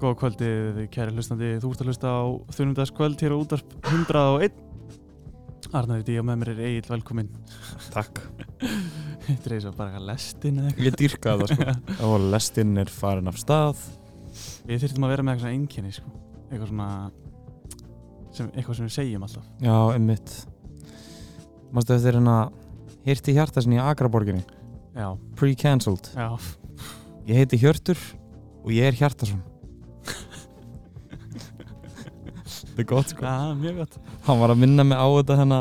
Góða kvöldið, kæri hlustandi, þú ert að hlusta á þunumdagskvöld hér á útarp 101 Arnaði Díó með mér er Egil, velkomin Takk Þetta er eins og bara eitthvað lestin eða Ég dýrkaði það eitthvað sko Og lestinn er farin af stað Við þyrftum að vera með eitthvað svona einkenni sko Eitthvað svona sem, Eitthvað sem við segjum alltaf Já, einmitt Mástu eftir hérna Hirti hjarta sinni í Akraborginni Já, Pre-cancelled já, Ég heiti Hjörtur Og ég er Hjartarsson Það er gott sko það er mjög gott Hann var að minna mig á þetta hérna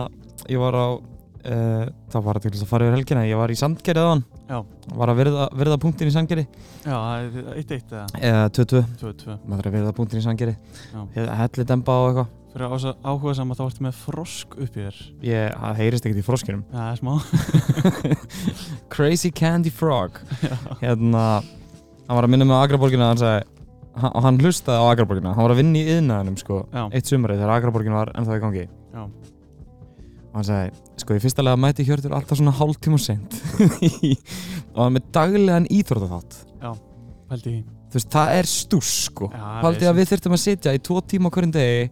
Ég var á uh, Það var til þess að fara yfir helgina Ég var í Sandgerið á hann Já. Var að verða, verða punktin í Sandgerið Já, það er eitt eitt eða Eða 22 Tvö, tvö Maður er að verða punktin í Sandgerið Já. Helli demba og eitthvað Fyrir ása, áhuga saman þá ertu með frosk upp í þér Já, Ég, það heyrist ekkert í froskinum það er smá Crazy Candy Frog hérna, hann var að minna með Agraborgina hann sagði, hann, og hann hlustaði á Agraborgina hann var að vinna í yðnaðinum sko Já, eitt sumarið þegar Agraborgin var ennþá í gangi Já. og hann sagði, sko í fyrsta lega mæti Hjörtur alltaf svona hálftíma sent og hann með daglegan íþróttaþátt pældi í þú veist, það er stús sko Já, haldi að við þurftum að sitja í tvo tíma á hverjum degi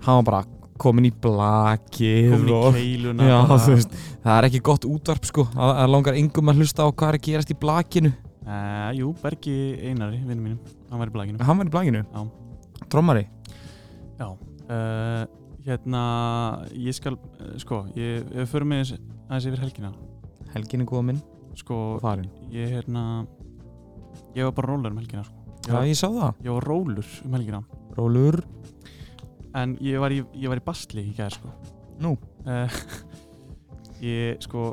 hann var bara komin í blakið Komin í og keiluna Já, bara. þú veist, það er ekki gott útvarp sko að, að langar yngum að hlusta á hvað er að gerast í blakinu Uh, jú, Bergi Einari, vinnum mínum, hann var í blaginu. Hann var í blakinu? Trommari? Uh, hérna, ég skal, uh, sko, ég, ef við förum með þess aðeins yfir helgina. Helgin er góða minn Sko, og farin ég, hérna, ég var bara rólur um helgina, sko. Ég Já, var, ég sá það ég var rólur um helgina, Rólur en ég var í, ég var í basli í gæðir, sko. Nú. Uh, ég, sko,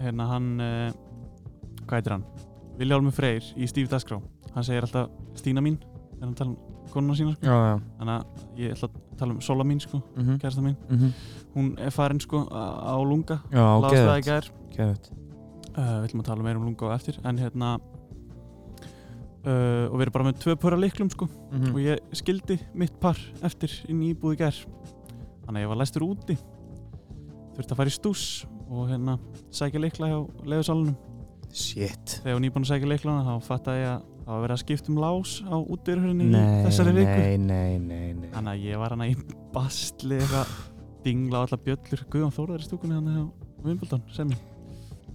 hérna, hann, uh, hvað heitir hann? Viljálmur Freyr í Stíf Dasgrá. Hann segir alltaf Stína mín, þegar hann tala um konuna sína, sko. Já, já Þannig að ég ætla að tala um Sola mín sko, mm -hmm. kærasta mín. Hún er farin sko á á lunga, Já, lagast það í geðvægt gær. Geðvægt Uh, við ætlum að tala meira um lunga á eftir, en hérna, uh, og við erum bara með tvö pöra liklum sko, Mhm. og ég skildi mitt par eftir inn í íbúði gær. Þannig að ég var læstur úti, þurfti að fara í stús og hérna sækja likla hjá leiðusalunum. Shit Þegar hún íbúin að sækja liklana þá fattaði ég að það var verið að skipta um lás á útdyrhörunni í Nei, þessari viku. nei, nei, nei, nei Þannig að ég var hann í bastli eitthvað dingla á alla bjöllur Guðjón Þórðar í stúkunni hann á Wimbledon sem ég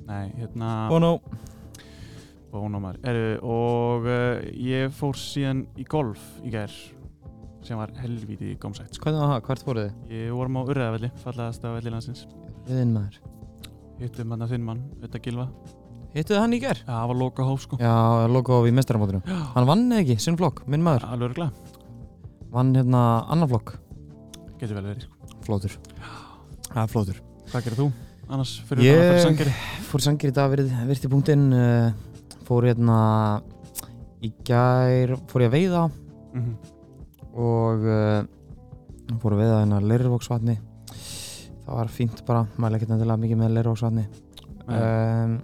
Nei, hérna Bono Bónómar Eru, og uh, ég fór síðan í golf í gær sem var helvítið gómsætt sko. Hvað er það, hvert fóruð þið? Ég vorum á Urðavelli, fallaðast af velli landsins Viðinn maður Hittum hann að þinn mann, auðvitað gilva Hittuðu hann í ger? Já, það var loka hóf sko Já, logo í mestaramótinu Já, Hann vann eða ekki, sinn flokk, minn maður alveg örgulega, Vann hérna annan flokk getur vel verið sko Flótur Það er flótur Hvað gerir þú? Annars fyrir Ég- það að fyrir sangeri fór sangir í dag verið, verið til punktinn uh, fór hérna í gær, fór ég að veiða mm -hmm. og uh, fór að veiða hérna leirvoksvatni það var fínt bara, maður ekkert endilega mikið með leirvoksvatni um,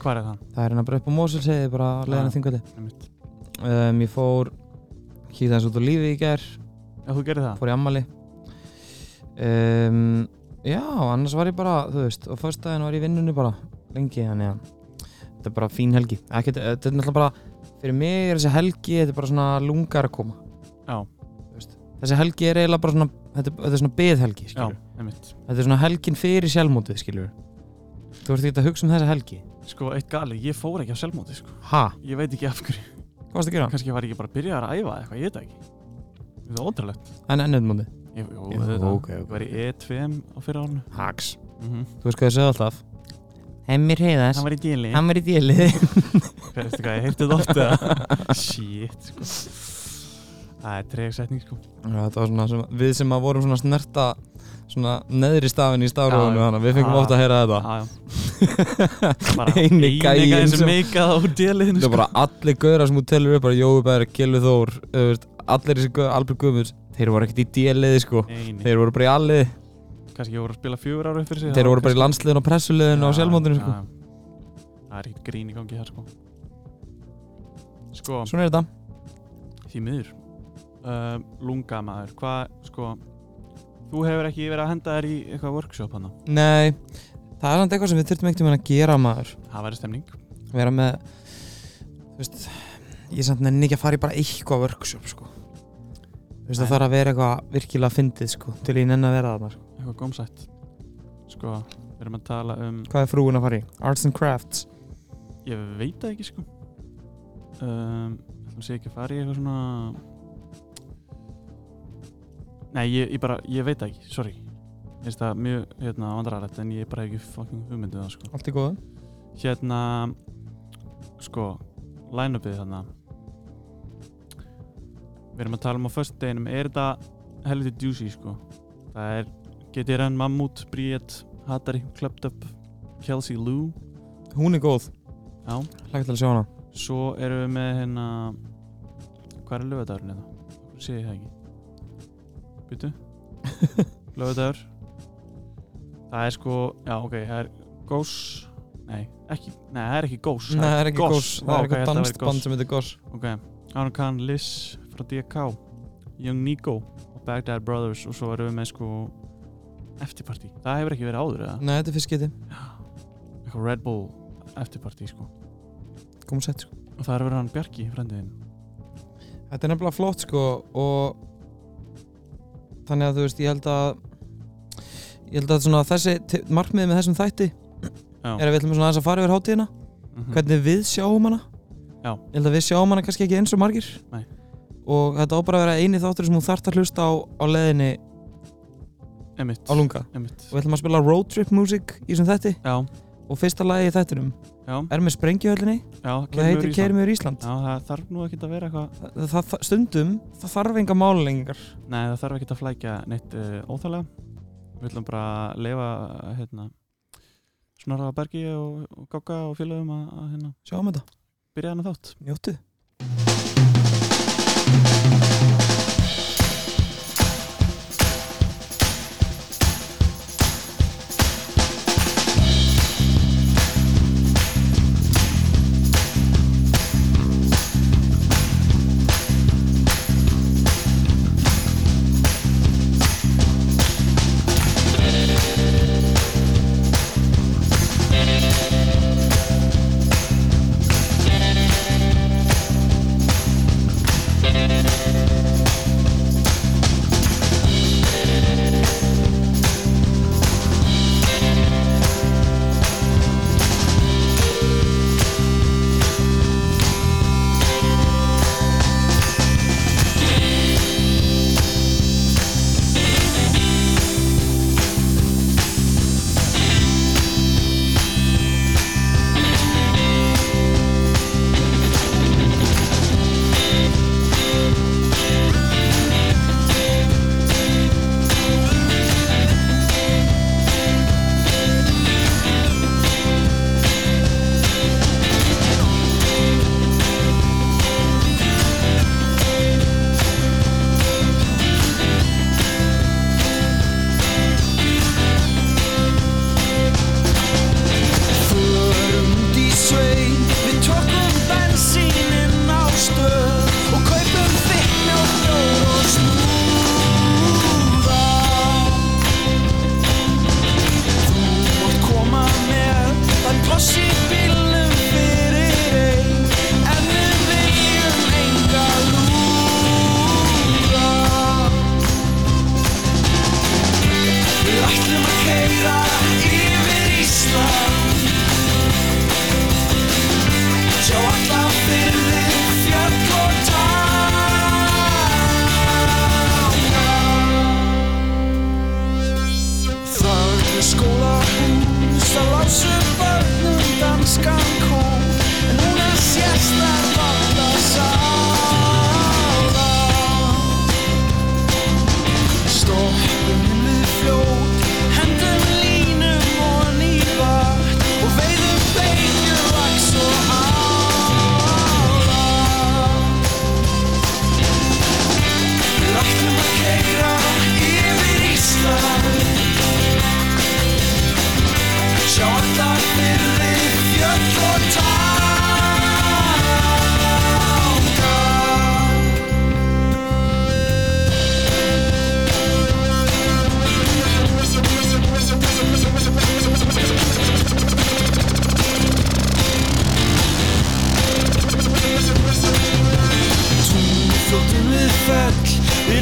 Hvað er það? það er hérna bara upp á Mosulseiði bara leiðan Já. að þingvöldi Einmitt. um, ég fór kýta eins út á lífi í gær Já, þú gerir það? fór í ammali um, já, annars var ég bara þú veist, og föstudaginn var ég í vinnunni bara lengi, þannig að þetta er bara fín helgi, Ekkert, eh, þetta er náttúrulega bara fyrir mig er þessi helgi, þetta er bara svona lungar að koma Já. Þú veist, þessi helgi er eiginlega bara svona þetta, þetta er svona beðhelgi, Já, skilur einmitt þetta er svona helgin fyrir sjálfmótið, skilur þú ert ekki að hugsa um þessa helgi Sko, eitt gali, ég fór ekki á sjálfmóti, sko. ha, Ég veit ekki af hverju. hvað varst að gera? Kannski var ég bara að byrja að æfa eða eitthvað, ég veit það ekki. Það er ótrúlegt. en ennöðmótið, Ég, jú, Jú, þetta, ok, ok. ég var í E2M á fyrra árnu. hags Mm -hmm. þú veist hvað ég segði alltaf hemmir heiðas, Hann var í dýli. hann var í dýlið Veistu hvað, ég heyrti þetta oft eða? Shit, sko. Það er tregsetning, sko. Já, þetta var svona sem, við sem að vorum svona snerta svona neðri stafin í stafrófunu Já, já. þannig að við fengum Ah. ofta að heyra þetta Já, já. Bara Eini eini gæinn gæðin sem sem- meikað á dýliðinu, Þetta sko. er bara allir gauðra sem þú telur upp bara Jói Bæri, Gilvi Þór, þú veist, allir þessi gauðra, Albert Guðmunds þeir voru ekkert í D-liði sko Eini. þeir voru bara í alliði, Kannski ég voru að spila fjögur ára fyrir sig. þeir voru bara í landsliðinu og pressuliðinu og sjálfmóndinu sko Það er ekkert grín í gangi þar, sko. Sko. Svona er þetta Því miður uh, Lunga maður, hvað sko Þú hefur ekki verið að henda þér í eitthvað workshop hana Nei, það er samt eitthvað sem við þurftum ekkert um að gera maður Það væri stemning vera með, þú veist ég samt nenni ekki að fara í bara eitthvað workshop sko Þú veist, það þarf að vera eitthvað virkilega fyndið sko, til ég nenni að vera þarna sko. eitthvað gómsætt sko, við erum að tala um Hvað er frúin að fara í? Arts and Crafts ég veit það ekki sko um, hún sé ekki að fara í eitthvað svona nei, ég, ég bara ég veit það ekki, sorry ég finnst það mjög, hérna, vandrarlegt en ég bara hef ekki fucking hugmyndið það sko Allt í góðu hérna sko, line-upið þarna við erum að tala um á föstudeginum er þetta helviti juicy sko það er GTRN, Mammut, Bríett Hattari, Clubbed Up Kelsey Lou, Hún er góð já Lægt til að sjá hana svo erum við með hérna hvað er lögadagurinn hérna? Hvernig sé ég það ekki byttu lögadagur það er sko, já ok, það er gós nei, ekki, nei, það er ekki gós Nei, það er ekki Goss. Goss Það Vá, er hvað eitthvað ég ætla að vera dansband sem heitir Goss Ok, Aaron Khan, Liz frá DK, Young Nico og Baghdad Brothers og svo erum við með sko eftirparti. Það hefur ekki verið áður eða? Nei, þetta er fyrst geti Eitthvað Red Bull eftirparti sko. Komum sett sko Og það er verið hann Bjarki, frendiðinn. Þetta er nefnilega flott sko og þannig að þú veist, ég held að ég held að svona þessi ti- markmiðið með þessum þætti Já. er að við ætlum svona aðeins að fara yfir hátíðina Mm -hmm. hvernig við sjáum hana Já. ég held að við sjáum hana kannski ekki eins og margir Nei. og þetta á bara að vera eini þáttur sem hún þarft að hlusta á, á leðinni Emmitt. á lunga Emmitt. og við ætlum að spila road trip music í þessum þætti Já, og fyrsta lagi í þættinum já, er með sprengjuhöllinni já. og það heitir Keirum yfir Ísland Já, það þarf nú ekki að vera eitthvað, það, það, það- stundum, það þarf enga málengar nei það þarf ekki að flækja neitt uh, óþálega. Við ætlum bara að leifa hérna Snorra Bergi og, og Gogga og félagum að, að hérna sjáum þetta, byrja hann að þátt. njóttu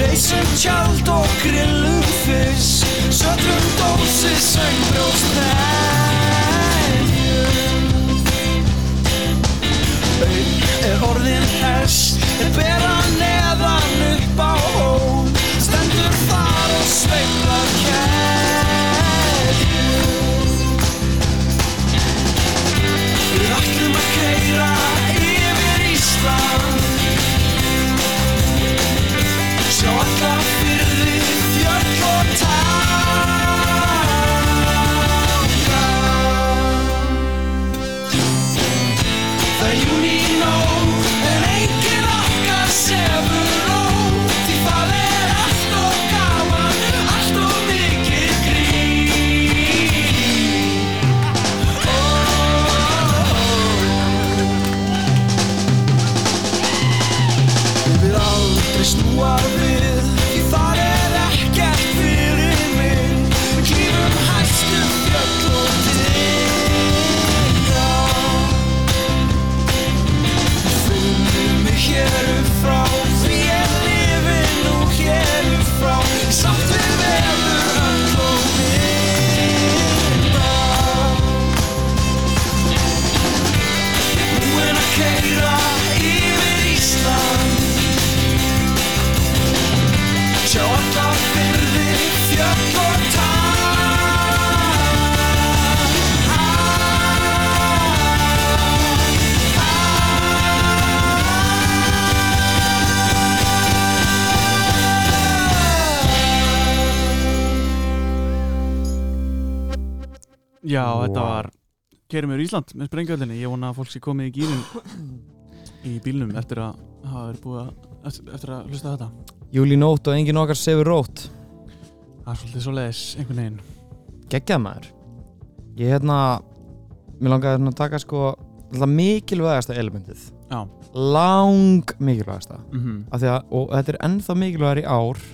reisum tjald og grillum fyrst Sötrum dósi, söngbróst þeljum Auð er orðin hest, er bera neðan upp á hól Stendur þar og sveiflar kæljum Við ætlum að keyra yfir Ísland Sjá alla fyrði, fjöll og tanga Það er júni í nóg, en enginn okkar sefur ró Því það er allt og gaman, allt og mikið grín Við aldrei snúa við Því þar er ekkert fyrir mig Við klífum hæstu fjöll og dyrra Finnum mig hér upp frá Því ég lifi nú hér upp frá Sátt við veður öll og vinda Búinn að keyra yfir Ísland Sjá alla fyrði, fjöll og tang Já, þetta Vá. var Kerum við Ísland með sprengjöldinni Ég vona að fólk sé komið í gýrin í bílnum eftir að hafa verið búið að eftir, eftir að hlusta á þetta Júli nótt og engin okkar sefur rótt Það er svolítið svo leiðis einhvern veginn geggjað maður ég hérna mér langaði hérna að taka sko alltaf mikilvægasta elementið Já. lang mikilvægasta mm af því að, og þetta er ennþá mikilvægar í ár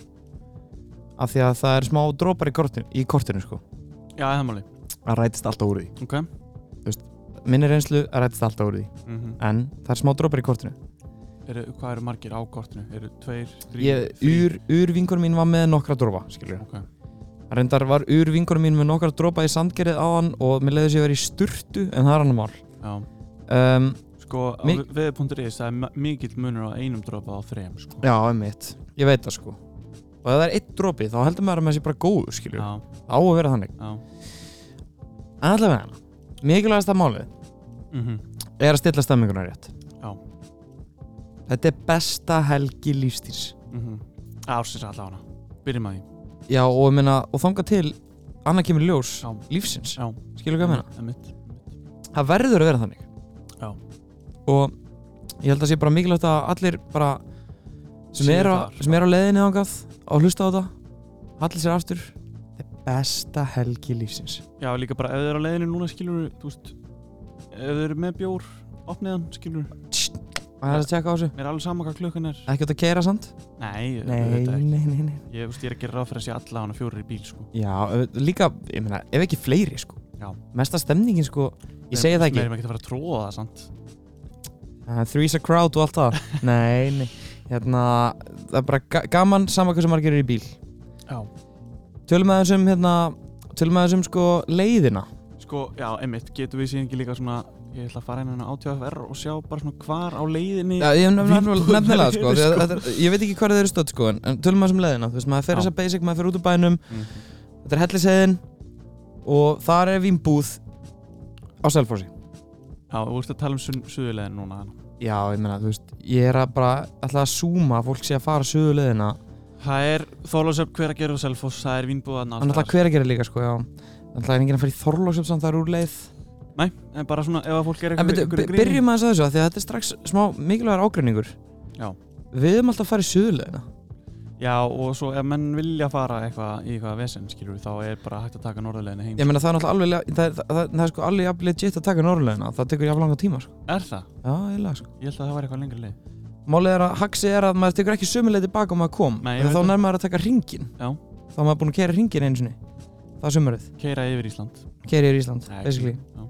af því að það er smá dropar í kortinu, í kortinu sko Já, það er máli að rætist alltaf úr því Ok minni reynslu að rætist alltaf úr því mm en það er smá dropar í kortinu eru, Hvað eru margir á kortinu? Eru tveir, þrý, ég, ur, ur vingur mín var með nokkra dropa skilur Ok reyndar var ur vingur mín með nokkra dropa í sandgerið á hann og mér leiði sér verið í sturtu en það er annar mál Já um, Sko, á Mi- veði.is það er ma- mikill munur á einum dropa á þrejum sko. Já, einmitt, ég veit það sko og ef það er eitt dropi þá heldur maður að maður sé bara góðu skilju, Já, á að vera þannig já en allavega hana, mikilvægast að málið mm er að stilla stemminguna rétt Já. þetta er besta helgi lífstís Mhm. Ársins allána Byrjum að því já og ég meina, og þanga til annað kemur ljós Já. lífsins, Já. skilju hvað ég meina Það er mitt það verður að vera þannig Já. og ég held að sé bara mikilvægt að allir bara sem, Séu er á, þar, sem er á leiðinni þangað og hlusta á þetta hallir sér aftur þetta er besta helgi lífsins Já, líka bara ef þið eru á leiðinu núna skilur þú veist ef þið eru með bjór, opniðan skilur Það er að tjekka á þessu mér er alveg sama hvað klukkan er Ekki átt að keira samt? Nei, Nei, auðvitað ekki. nei, nei, nei Ég, þú veist, ég er að gera ráð fyrir að sé alla hana fjórir í bíl sko. Já, ö- líka, ég meina, ef ekki fleiri sko Já. Mesta stemningin sko, ég segi það Við ekki erum ekkert að fara að tróða það sant? uh, Three's a crowd og allt það Nei, nei, hérna, það er bara ga gaman sama hvað sem maður gerir í bíl Já. Tölum að þessum, hérna, tölum að þessum sko leiðina Sko, já, einmitt, getum við síðan ekki líka svona ég ætla að fara inn hérna á TFR og sjá bara svona hvar á leiðinni Já, ég nefnilega, Vínbúð- nefnilega sko, sko. leiðina, sko. Þetta, er- Ég veit ekki hvað þau eru stödd sko, en, en tölum að þessum leiðina Þú veist, maður fer Já. þess að basic, maður fer út úr bænum Mhm. Þetta er helliseiðin og þar er vínbúð á Selfossi Já, þú veist að tala um sun, suðulegðin núna Já, ég meina, þú veist, ég er að bara alltaf að súma að fólk sé að fara söðu leðina Það er Þorlósöp hver að gera og Selfoss það er vínbúðan Þannig að hver að gera líka, sko, já Þannig að enginn að fara í Þorlóksjöf samt það er úr leið Nei, en bara svona ef að fólk er En byrju, einhverju by- byrjum aðeins að þessu, af því að þetta er strax smá mikilvægar ágreiningur Já. Við höfum alltaf að fara í söðu leðina Já, og svo ef menn vilja fara eitthvað í eitthvað vesen, skilur þá er bara hægt að taka norðulegðinni heim Ég meina, það er alltaf alveg, le- það, er- það, það, það er sko alveg jafn legit að taka norrleðina Það tekur jafn langa tíma, sko Er það? Já, eiginlega, sko Ég held að það var eitthvað lengri leið Málið er að haxi er að maður tekur ekki sömu leið tilbaka og maður kom Nei, ég en veit Þá það. nær maður að taka ringin Já. Þá er maður búin að kæra ringin einu sinni Það er sömurðið Keira yfir Ísland Kæri yfir Ísland, Nei, basically já.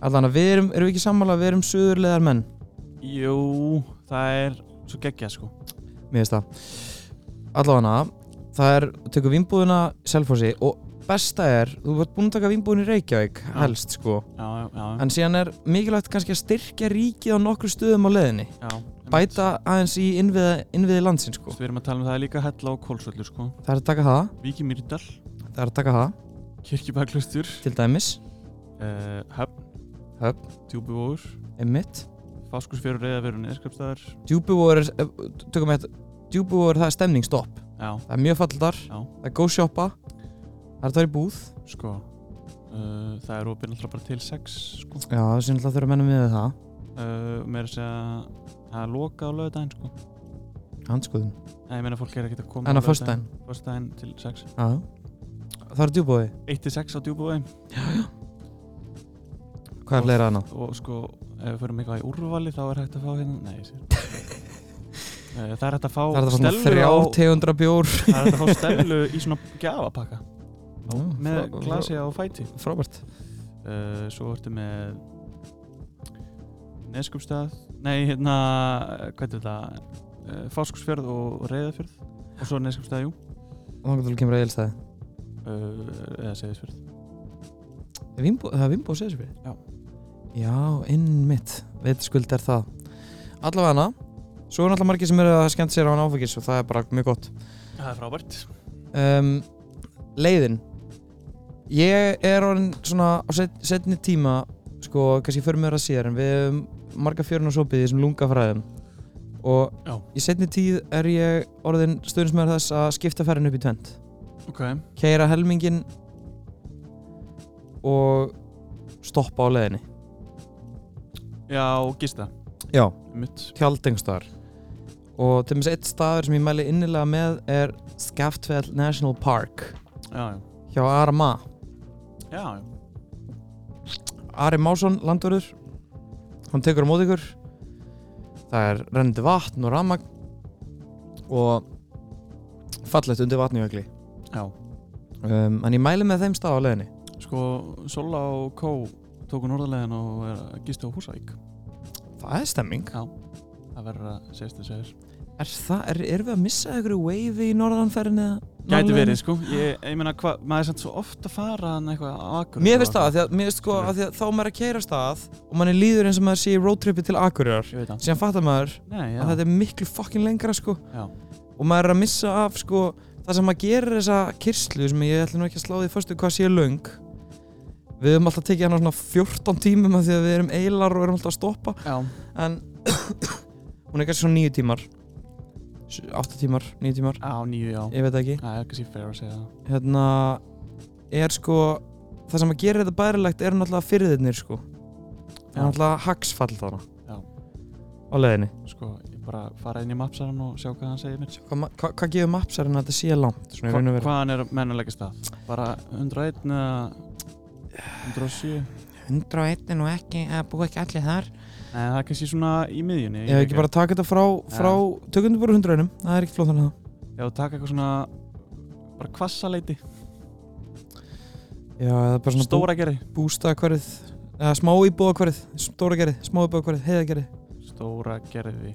Allan að við erum, erum við ekki sammála, við erum söðurleðar menn Jú, það er svo geggjað sko Mér finnst það allavega það er, tökum vinnbúðina Selfossi og besta er, þú ert búin að taka vinnbúðin í Reykjavík helst sko, já, já, já, en síðan er mikilvægt kannski að styrkja ríkið á nokkru stöðum á leiðinni, já bæta aðeins í innviði, innviði landsins Þú sko, veist, Við erum að tala um það er líka hella og kólsvöldur sko. það er að taka það Víki Mýrdal, það er að taka það, Kirkjubæklustur til dæmis uh, Höfn, Höfn. Djúbivóur einmitt, Fáskursfjörur, Reyðafjörur, Neskjöpstaðar djúbúvor er, eh, tökum við þetta djúbúvor það er stemningstopp, Já, það er mjög falltar Já. það er góð sjoppa, það er að fara í búð sko uh, Það er opið náttúrulega bara til 6 sko. já, það er sínlega þurfa að menna með það uh, Mér er að segja það er loka á lögudaginn sko. handskoðun, Nei, ég meina fólk er ekkert að koma en að fyrstæðin Föstudaginn til 6 það er djúbúi 1 til 6 á Djúbivói Hvað er fleira hana? og sko, ef við förum eitthvað í úrvali þá er hægt að fá hérna Nei, ég sé Eh, Það er hægt að fá Það er það svona Stellu þrjá á- tegundra bjór Það er hægt að fá stelu í svona gjafapakka með Frá- glasi á fæti frá- Frábært uh, Svo ertu með Neskupstað Nei, hérna, hvað er þetta? Uh, Fáskursfjörð og Reyðafjörð og svo Neskupstað, jú Og þannig til að kemur að eilstæði uh, eða Seyðisfjörð Það er Vimbo Sesfri Já. Já, innmitt Veit skuld er það Allavega hana Svo er náttúrulega margir sem eru að skemmt sér á hann áfengis og það er bara mjög gott Það er frábært um, Leiðin Ég er orðin svona á set, setni tíma sko, kannski fyrir mér að síðar en við höfum marga fjörun og sopið í þessum lungafræðum og Já. í setni tíð er ég orðin stöðnismæður þess að skipta ferðin upp í tvend Ok, keira helmingin og stoppa á leiðinni já, og gista já, Mitt, tjaldengstar og til minnst eitt staður sem ég mæli innilega með er Skaftfell National Park já, já hjá Ara Ma Já, já, Ari Másson, landverður hann tekur á móti ykkur það er rennandi vatn og rafmagn og fallegt undir vatnjökli já. um, en ég mæli með þeim stað á leiðinni Sko, Sola og Kó tóku norðarlegin og er að gista á Húsavík það er stemming Það verður að segjast þess að þess er það, er, erum við að missa ykkur wave í norðanferðinni eða Gæti norðurleiðinni? verið, sko Ég, ég meina, hva, maður er samt svo oft að fara hann eitthvað á akkur Mér finnst það, af því að, mér finnst sko, að því að þá er maður er að keira stað og manni líður eins og maður sé í roadtripi til Akureyrar Ég veit það síðan fattar maður Nei, já, að þetta er miklu fucking lengra sko já, og maður er að missa af sko það sem maður gerir þessa kyrslu sem ég ætla nú ekki að slá því fyrstu hvað sé löng við höfum alltaf tekið hann á svona 14 tímum af því að við erum eilar og erum alltaf að stoppa já, en hún er kannski svona 9 tímar 8 tímar, 9 tímar á nýju, já ég veit það ekki Það er kannski fair að segja það hérna er sko það sem að gera þetta bærilegt er náttúrulega fyrirðirnir sko það er Já. náttúrulega hagsfall þarna Já. á leiðinni Sko, ég bara fara inn í mapsaran og sjá hvað hann segir mér hvað hva, hva hvað gefur mapsarinn að þetta sé langt svona í Hva, raun og veru Hvaðan er mennulegja stað? Bara 101 eða 107 Nei, 101 er nú ekki að búa ekki allir þar það er kannski svona í miðjunni ég hef ekki bara að taka þetta frá, frá tökundu bara 100 einum það er ekki flóðan það Já, taka eitthvað svona Bara kvassaleiti já það er bara svona Stóra gerði bú, bústa hverfið eða smá íbúða hverfið stóra gerði smá íbúða hverfið heiða gerði Stóra gerði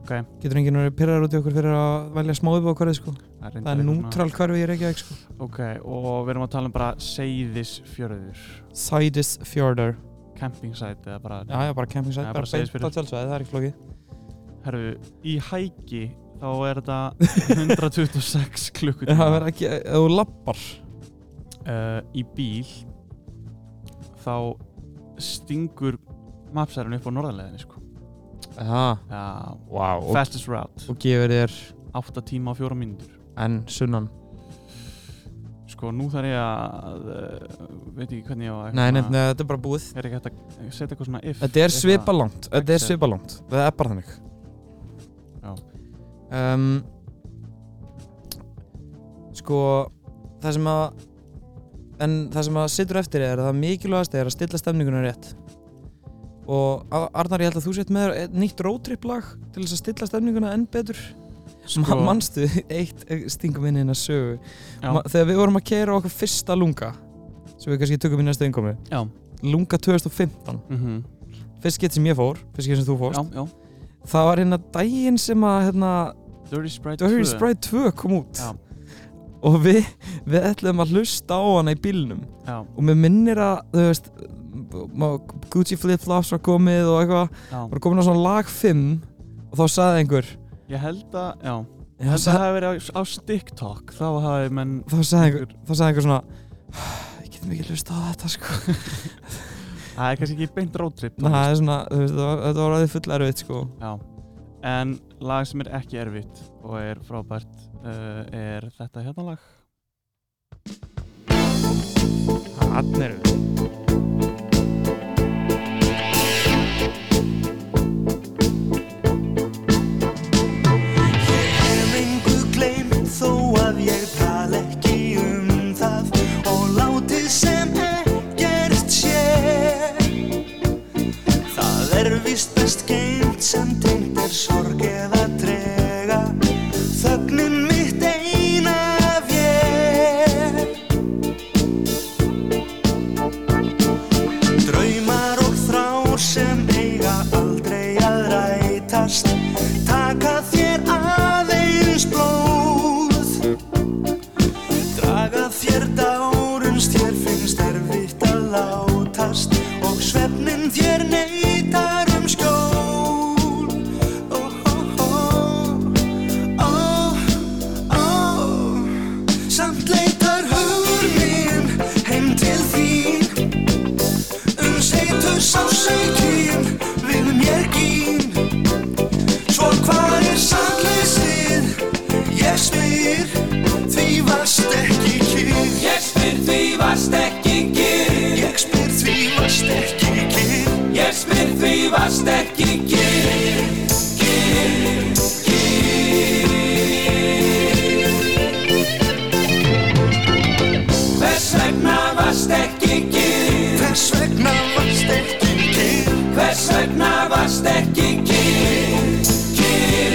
Ok, getur enginn verið pyrrar út í okkur fyrir að velja smá íbúða hverfið sko reyndar það er eitthvað svona- nútral hverfið ég er ekki sko Ok, og við erum að tala um bara Seyðisfjörður Sædis fjörður Camping site eða bara Já, já, bara Já, campingsætt, bara bara beint Seyðisfjörður. á tjálsvæði, það er ekki flókið Herru, í hæki þá er þetta 126 klukkutíma Það verður ekki, ef þú lappar uh, í bíl þá stingur mapsærin upp á norðarleðinni sko. Já, Já, wow og, fastest route og gefur þér 8 tíma og 4 mínútur enn sunnan sko nú þarf ég að uh, veit ekki hvernig ég á að Nei, nei, nei, þetta er bara búið er ekki hægt að setja eitthvað svona if Þetta er eitthvað- svipalangt, þetta er Excel. svipalangt Það er bara þannig Já. um, Sko, það sem að En það sem að situr eftir er að það mikilvægast er að stilla stemninguna rétt Og Ar- Arnar, ég held að þú sett með þér nýtt roadtrip lag til þess að stilla stemninguna enn betur sko, sko, Manstu, eitt stingum inn hérna sögu Já. Ma, Þegar við vorum að kera okkur fyrsta lunga sem við kannski tökum í næstu yngkomi Já. Lunga 2015 mhm, Fyrst skeitt sem ég fór, fyrst skeitt sem þú fórst Já, já, Það var hérna daginn sem að hérna, Dirty Sprite 2 Dirty Sprite 2 kom út Já. og við, við ætlum að hlusta á hana í bílnum Já, og mér minnir að, þú veist má- Gucci Flip Flops var komið og eitthvað, já, var komin á svona lag 5 og þá sagði einhver ég held að, já, þá ég held að það sagði, hafi verið á, á TikTok, þá hafi menn, þá sagði einhver, þá sagði einhver svona "Ah, við getum ekki hlusta á þetta sko það er kannski ekki beint rótrip. Nei, það er svona, þú veist, þetta var- þetta var aðeins full erfitt sko Já, en lag sem er ekki erfitt og er frábært uh, er þetta hérna lag. Hann er við Hef engu gleymt þó að ég tala ekki um það og látið sem ekkert sé. Það er víst best geymt sem tengt er sorg eða trega, þögnin mitt eina af ég. Draumar og þrár sem eiga aldrei að rætast Taka þér aðeins blóð Draga þér dárumst, þér finnst erfitt að látast Og svefnin þér neytar um skjól Ó, ó, ó, ó, ó Samt leitar hugur minn heim til þín um seitu sásaukinn við mér gín Svo hvar er sannleysið, ég spyr, því varst ekki kýr Ég spyr því varst ekki kyrr Ég spyr því varst ekki kýr Ég spyr því varst ekki kyrr Hvers vegna varst ekki kyrr Hvers vegna varst ekki kýr Hvers vegna varst ekki kyrr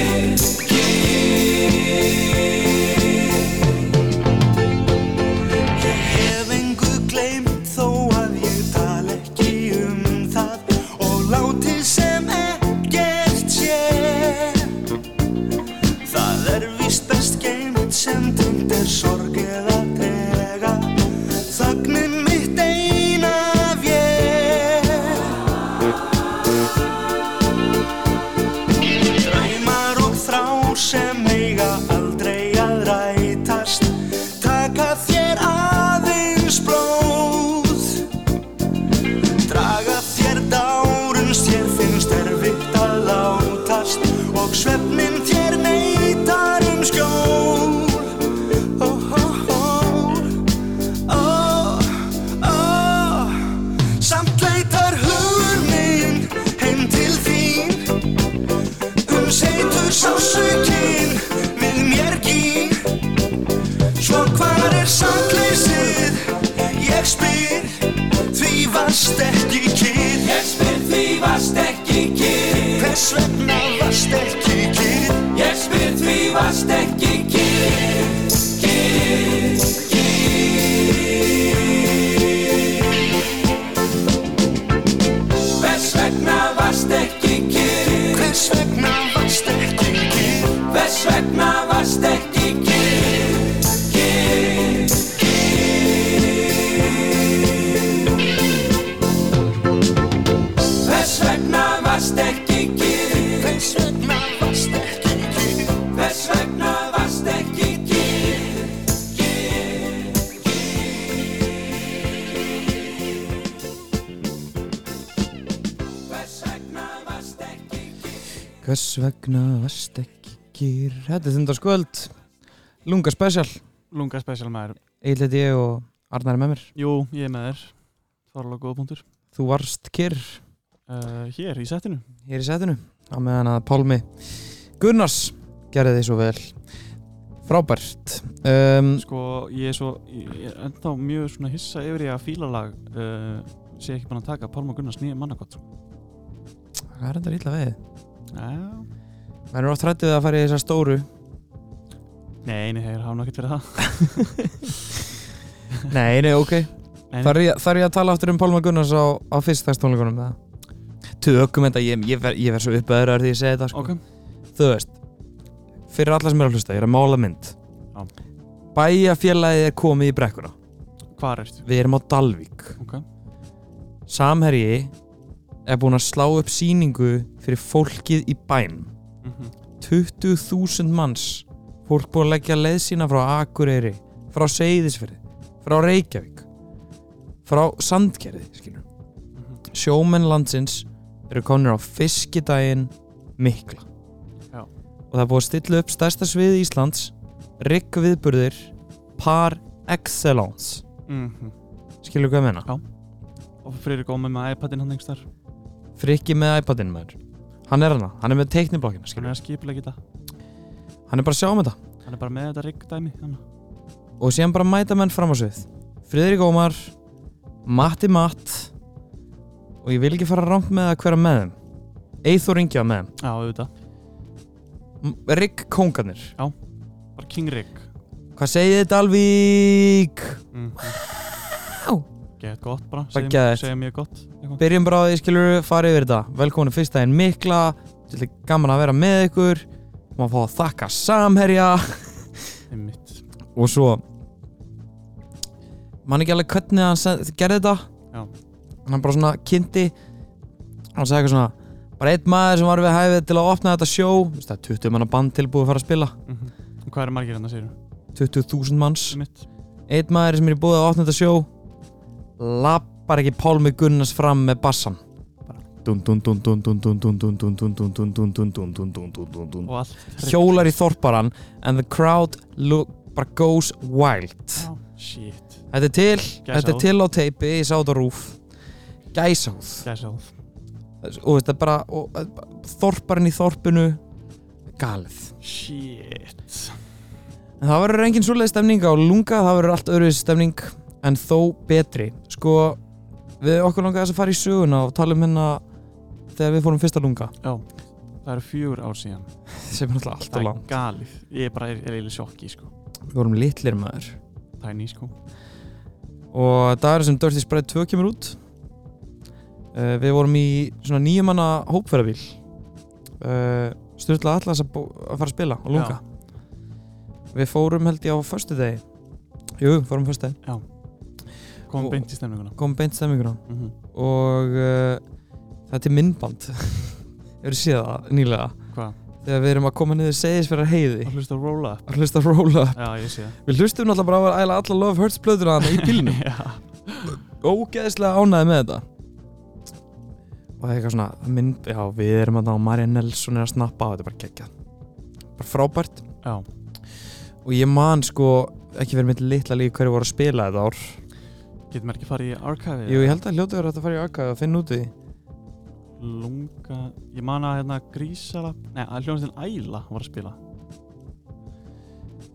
Hef engu gleymt þó að ég tal ekki um það og látið sem ekkert sé. Það er víst best geymt sem tengt er sorg eða tega, þögnin mitt eina af ég. Draumar og þrár sem eiga aldrei að rætast Taka þér aðeins blóð Draga þér dárums, þér finnst erfitt að látast Og svefnin þér neytar um skjól Oh, Ó, ó, ó, ó, ó Oh, Samt leitar hugur minn heim til þín Um seitur sásökinn við mér gín Svo hvar er sannleysið, ég spyr Því varst ekki kýr Ég spyr því varst ekki kyrr Hvers vegna varst ekki kýr Ég spyr því varst ekki kyrr Kyrr, kyrr Hvers vegna varst ekki kyrr Hvers vegna varst ekki kýr Hvers vegna varst ekki kyrr, kyrr, kyrr Hvers vegna varst ekki kyrr, Hvers vegna varst ekki kýr hvers vegna varst ekki kyrr Hvers vegna varst ekki kyrr Hvers vegna varst ekki kýr Þetta er þundarskvöld Lunga special Lunga special maður. Egil heiti ég og Arnar er með mér Jú, ég er með þér. Þorlega góða punktur. Þú varst kyrr Uh, hér í settinu. hér í setinu á meðan að Pálmi Gunnars gerði því svo vel Frábært um, Sko, ég er svo, ég ég er ennþá mjög svona hissa yfir ég að fílalag uh, sé ekki búin að taka Pálma Gunnars nýja mannakott. sko. Sko, Það er enda illa veið Já. Það er oft rættið að fara í þessa stóru Nei, nei, þeir hafa nokkert verið það. Nei, nei, ok Nei. Þar er ég, þar er ég að tala aftur um Pálma Gunnars á, á fyrstagstónleikunum eða? Tökum þetta, ég, ég verð ver svo uppeður því ég segi þetta sko. Ok, Þú veist fyrir alla sem er að hlusta, ég er að mála mynd Já. Bæjafélagið er komið í brekkuna Hvar ertu? Við erum á Dalvík Ok. Samherji er búinn að slá upp sýningu fyrir fólkið í bænum Mm 20.000 manns fólk búið að leggja leið sína frá Akureyri frá Seyðisfyrði, frá Reykjavík frá Sandgerði skilur. sjómenn landsins eru konur á fiskidaginn mikla Já. og það er búið að stilla upp stærsta svið Íslands rigg viðburðir par excellence skilur hvað ég meina? Og Friðrik Ómi með iPadin hann einhvers þar. Frikki með iPadin maður hann er hana, hann er með teikniblokkina Hann skilur. er að skiplega þetta. hann er bara að sjá um þetta Hann er bara með þetta riggdæmi. hann. og síðan bara mæta menn fram á svið Friðrik Ómar Matti Matt og ég vil ekki fara rangt með að hverja með þeim Eithor Ingi var með Já, auðvitað. þeim Rigg Kongarnir Bara King Rigg. hvað segið þið Dalvík Mm -hmm. Gett gott bara. Bara Segjum- geðveikt. Segjum mjög gott. Eitthvað. byrjum bara á því skilur farið yfir þetta velkomin í fyrsta einn mikla Þetta er gaman að vera með ykkur maður fá að þakka samherja Einmitt. og svo mann ekki alveg hvernig hann send, gerði þetta Já. hann bara svona kynnti hann sagði eitthvað svona bara einn maður sem var við hæfið til að opna þetta sjó Þú veist, það er 20 manna band tilbúið að fara að spila Mm Hvað eru margir hann að segja? 20.000 manns Einmitt. einn maður sem er í búið að opna þetta sjó lappar ekki Pálmi Gunnars fram með bassan Og allt. hjólar í þorparan and the crowd look, bara goes wild Já, Shit. Þetta er til, þetta er Gæsahúð. til á teipi, ég sá þetta á rúf Gæsáð Gæsáð. Og þetta er bara, og, eh, þorparinn í þorpinu Galið Shit. En það verður engin svoleið stemning á lunga Það verður allt öðruð stemning En þó betri Sko, við okkur langaði þess að fara í söguna Og tala um hérna Þegar við fórum fyrsta lunga Það eru fjögur ár síðan. Sem er alltaf Það alltaf er langt galið. Ég er bara er, er eiginlega sjokki, sko. Við vorum litlir maður Tiny, sko. Og dagur sem Dirty Sprite 2 kemur út uh, Við vorum í svona nýjumanna hópferðabíl uh, Sturla allas að, bó- að fara að spila og lunga Við fórum held ég á föstu degi Jú, fórum föstu degi Komum Og- beint í stemninguna. Komum beint stemminguna Mm Og uh, þetta er minnband Hefur séð það nýlega Hvað? Þegar við erum að koma niður segðisverðar heiði Það hlusta á roll up. Að hlusta á roll up Já, ég sé það. Við hlustum náttúrulega bara á æla alla Love Hurts blöðuna hana í bílnum Já. ógeðslega ánæði með þetta og það er eitthvað svona mynd, já við erum að ná Marja Nelson er að snappa á þetta er bara geggjað bara frábært Já. og ég man sko ekki verið mitt litla líka hverju voru að spila þetta ár Getum við ekki farið í archive? jú ég held að hljótu verið að fara í aðkvæði og finna út í því. Lunga, ég man að hérna grísala Nei, að hljónastinn Æla var að spila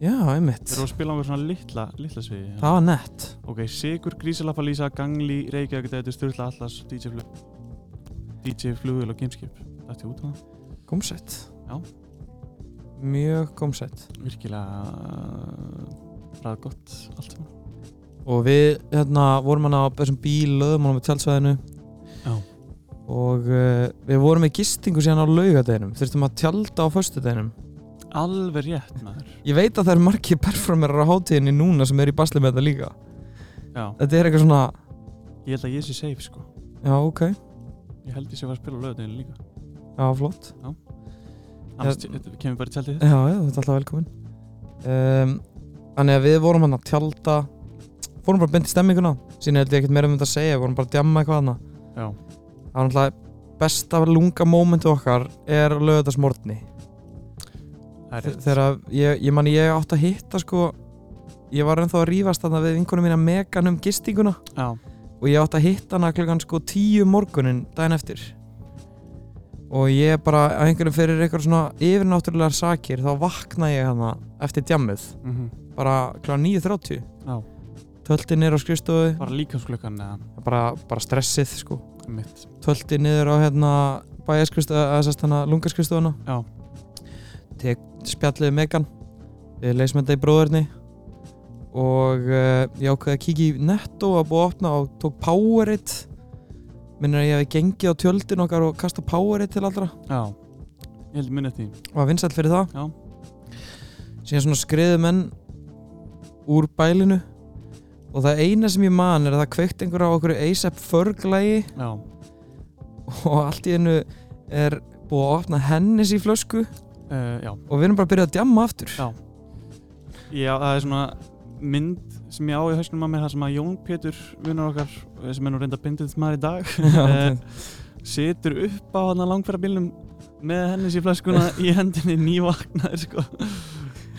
já einmitt Þeir eru að spila á einhver svona litla, litla sviði það var nett Ok, Sigur, Grísalappa, Lísa, Gangli, Reykjavík Dætu, Sturla, Atlas, DJ Flug DJ Flugil og Gameskip Þetta er út á það gómsett Já. mjög gómsett Virkilega uh, Ræð gott allt saman og við hérna vorum hann á þessum bíl löðum hann á tjálsvæðinu Já. og uh, við vorum í gistingu síðan á laugadeginum þurftum að tjálta á föstudeginum Alveg rétt maður ég veit að það eru margir performerar á hátíðinni núna sem eru í basli með þetta líka Já, þetta er eitthvað svona, ég held að ég sé safe sko já ok já Ég held ég sé að fara að spila á löðinu líka flott, Annars Ég- ég... kemur bara í tjaldið já já þetta er alltaf velkomin um, þannig að við vorum hann að tjálta fórum bara beint í stemminguna síðan held ég ekkert meira um þetta að segja, við vorum bara að djamma eitthvað hana Já, það var náttúrulega besta lunga mómentu okkar er lögðasmortni það er rétt þegar ég, ég manni ég átt að hitta sko ég var ennþá að rífast þarna við vinkunum mína megan um gistinguna Já, og ég átt að hitta hana klukkan sko tíu morgunin daginn eftir og ég bara að einhverjum fyrir eitthvað svona yfirnáttúrulegar sakir þá vakna ég hana eftir djammið mm bara klukkan 9.30 Já. tölti niður á skrifstofu bara líkansklukkan eða bara, bara stressið sko mitt tölti niður á hérna bæjaskristofu eða sérst hana lungaskristofu Já. tek spjallið megan við leysum þetta í bróðurni og uh, ég ákveði að kíkja í netto að búið að opna og tók Powerade minnir að ég hefði gengið á tjöldin okkar og kasta Powerade til allra Já, ég held minni eftir því. og var vinsælt fyrir það Já. síðan svona skriðu menn úr bælinu og það eina sem ég man er að það kveikt einhver á okkur ASAP förglægi Já, og allt í einu er búið að opna hennis í flösku uh, já. og við erum bara að byrja að djamma aftur Já. Já, það er svona mynd sem ég á í hausnum að mér þar sem að Jón Pétur, vinnur okkar eh, sem er nú reynda bindið maður í dag eh, situr upp á hann langfæra bílnum með hennis í flaskuna í hendinni nývagnaður sko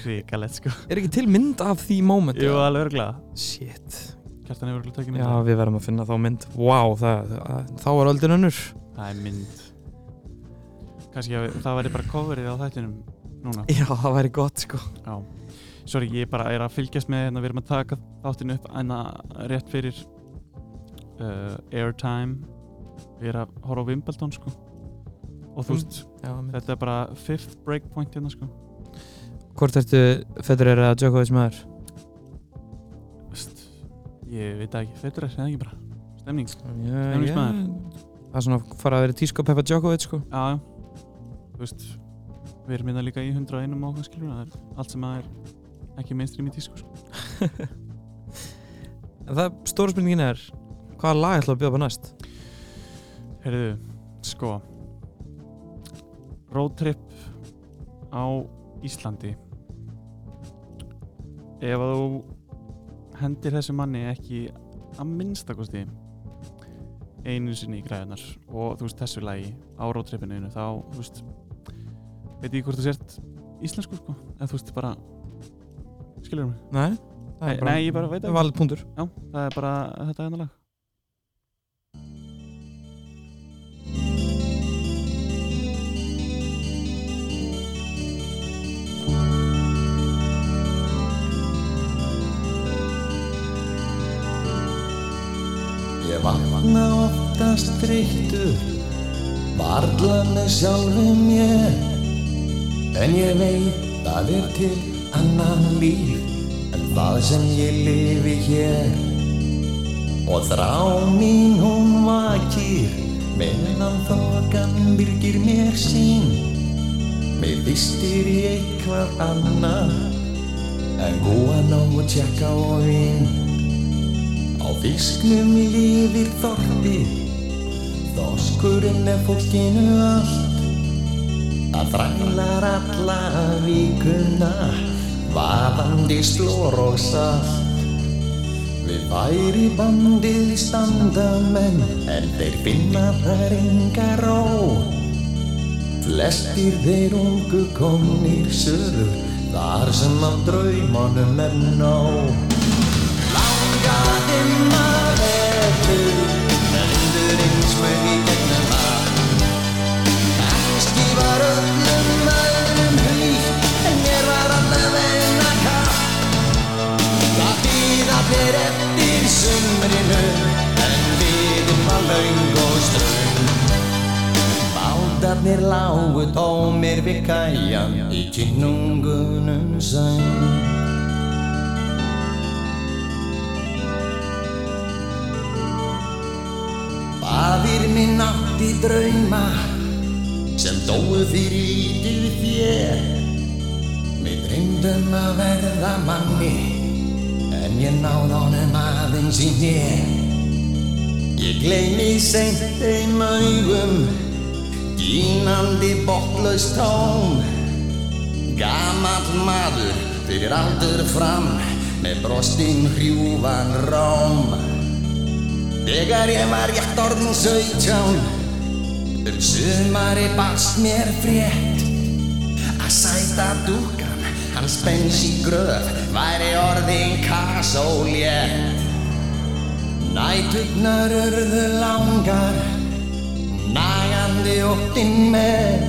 Ríkalett sko er ekki til mynd af því moment Jú, alveg örglega shit Kjartan hefur örglega tökinn já við verðum að finna þá mynd wow það, það, þá var öldin önnur Það er mynd Kanski að það væri bara coverið á þættinum núna já það væri gott sko Já Sorry, ég bara er að fylgjast með hérna, við erum að taka þáttinn upp en rétt fyrir uh, Airtime Við erum að horfa á Wimbledon sko Og Mm. þú veist, já, mynd. þetta er bara fifth breakpoint hérna sko hvort ertu fettur er að Djokovic maður Vist, Ég veit það ekki, þetta er það ekki bara Stemning Já, Stemnings já. maður. það er svona að fara að vera tísku að peppa Djokovic sko. Já, já Þú veist, við erum hérna líka í 101 og okkar skilur Það er allt sem að er ekki mainstream í tísku sko en það stóra spurningin er hvaða lag ætlaðu að bjóða upp á næst Herðu, sko Roadtrip á Íslandi Ef að þú hendir þessu manni ekki að minnstakosti einu sinni í græðunar og þú veist þessu lagi á roadtripinu þínu, þá, þú veist veit ég hvort þú sért íslensku sko eða þú veist bara skilur mig, nei, það er Nei, nei, ég bara veit ekki. valið punktur já, það er bara þetta hérna lag Ég vakna oftast þreyttur Varla með sjálfum mér En ég veit að er til annan líf En það sem ég lifi hér Og þrá mín hún vakir Minnan þokan byrgir mér sín Mér vistir í eitthvað annað En góðan á að tjekka á vín Á fisknum lifir þorpið Þorskurinn er fólkinu allt Það þrælar alla vikuna Vaðandi slór og salt Við væri bandið standa menn En þeir finna þær enga ró Flestir þeir ungu komnir söður Þar sem af draumanum er nóg Eftir sumrinu En við um að laung og ströng Bátarnir lágu tómir við kæjan Í kynnungunum sæn Fadir minn átti drauma sem dóu fyrir ítið þér Mér dreymdum að verða manni en ég náð honum aðeins í mér Ég gleymi seint þeim augum dýnandi botlaust tóm Gamall maður fyrir aldur fram með brostinn hrjúvan róm Þegar ég var rétt orðin 17 Um sumari barst mér frétt Að sæta dúkan Hans bens í gröf Væri orðin kasólje Nætugnar urðu langar Nagandi óttinn með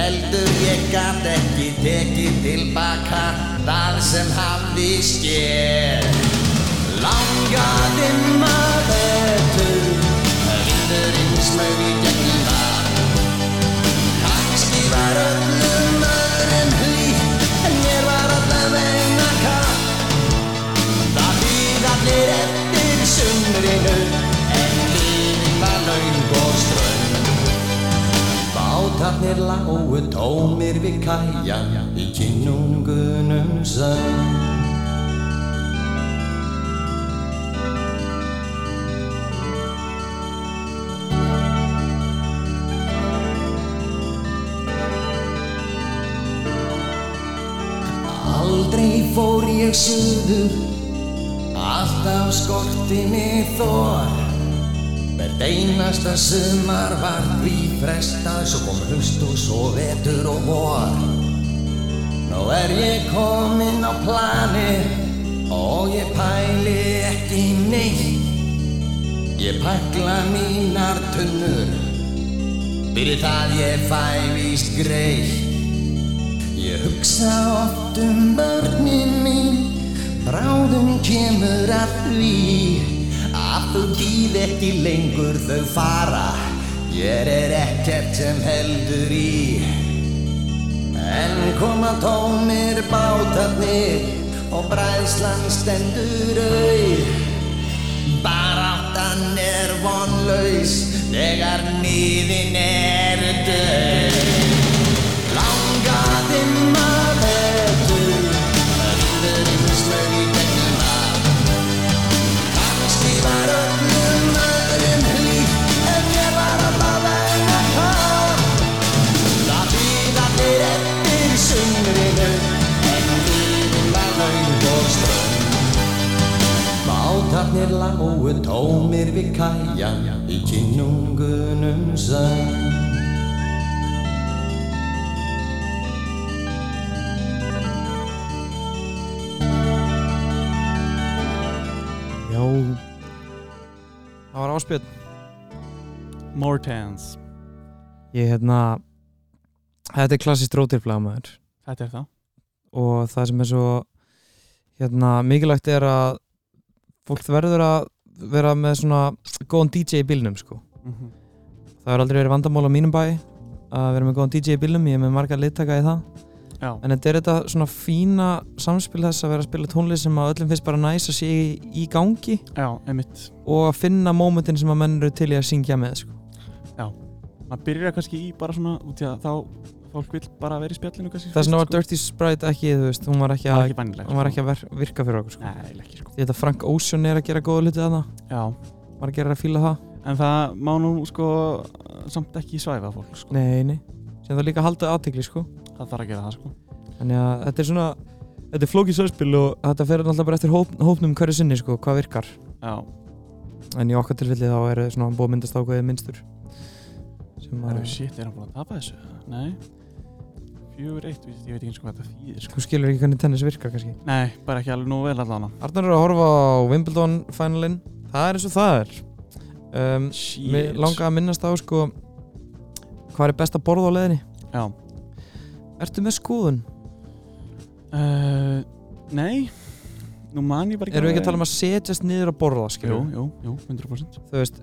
Neldur ég gat ekki tekið tilbaka Þar sem hafði skér Langaði maður betur Vindurinn smög í gegnum það Kannski var öllum öðrum hlýtt En mér var allavegna katt Það hlýð allir eftir sumrinu En lífið var laung og strönd Bátarnir Bátarnir lágu tómir við kæja í kinnungunum sönn Aldrei fór ég suður Alltaf skorti mig þor Hvert einasta sumar var því frestað Svo kom hlust og svo vetur og vor Nú er ég kominn á planið Og ég pæli ekki neitt Ég pakla mínar tunnur Fyrir það ég fæ víst greitt Ég hugsa oft um börnin mín Bráðum kemur að því Að þú býð ekki lengur þau fara Ég er ekkert sem heldur í En koma tómir bátarnir Og bræðslan stendur auð Baráttan er vonlaus Þegar nýðin er döð Langaði maður til að lífið reynslar í gegnum að. Kannski var öllum öðrum hlýtt en ég var að baða en að það. Það bíða þeir eftir sumrinu en lífið var laung og strönd. Bátarnir lágu tómir við kæja í kinnungunum sönn. Já Það var áspjöld Mortans Ég hérna Þetta er klassist rótirflag maður Þetta er það og það sem er svo hérna, mikilvægt er að fólk verður að vera með svona góðan DJ í bílnum sko. mm Mm-hmm. Það hefur aldrei verið vandamál á mínum bæ að vera með góðan DJ í bílnum, ég er með marga littaka í það Já, En þetta er þetta svona fína samspil þess að vera að spila tónlist sem að öllum finnst bara næs að sé í, í gangi já, einmitt og að finna mómentin sem að menn eru til í að syngja með sko. Maður byrjar kannski í bara svona út í að þá fólk vil bara vera í spjallinu kannski sko. Þess vegna var fyrst, Dirty Sprite ekki, þú veist, hún var ekki, Það er að, ekki bænileg hún var ekki að ver, virka fyrir okkur sko. Nei, eiginlega ekki sko Ég held að Frank Ocean er að gera góða hluti að það, Já, var að gera að fíla það en það má nú sko samt ekki svæfa fólk sko Nei, nei, sem það líka haldið aðtekli sko. Það þarf að gera það sko Þannig að þetta er svona, þetta er flókið samspil og þetta fer náttúrulega bara eftir hóp, hópnum hverju sinni sko, hvað virkar Já, En í okkar tilfelli þá er svona búið að myndast ákveðið minnstur sem það að, eru shit, er hann búin að tapa þessu? Nei Fjögur eitt, víst, ég veit ekki eins og hvað þetta þýðir sko þú skilur ekki hvernig tennis virkar kannski Nei, bara ekki alveg nú vel allan Arnar er að horfa á Wimbledon finalin Það er eins og það er um, Mér Shit langaði að minnast á sko Hvað er best að borða á leðinni? Já Ertu með skoðun? uh, Nei, nú man ég bara ekki Erum við ekki að tala um að setjast niður að borða Jú, skilur? jú, jú, 100% Þú veist,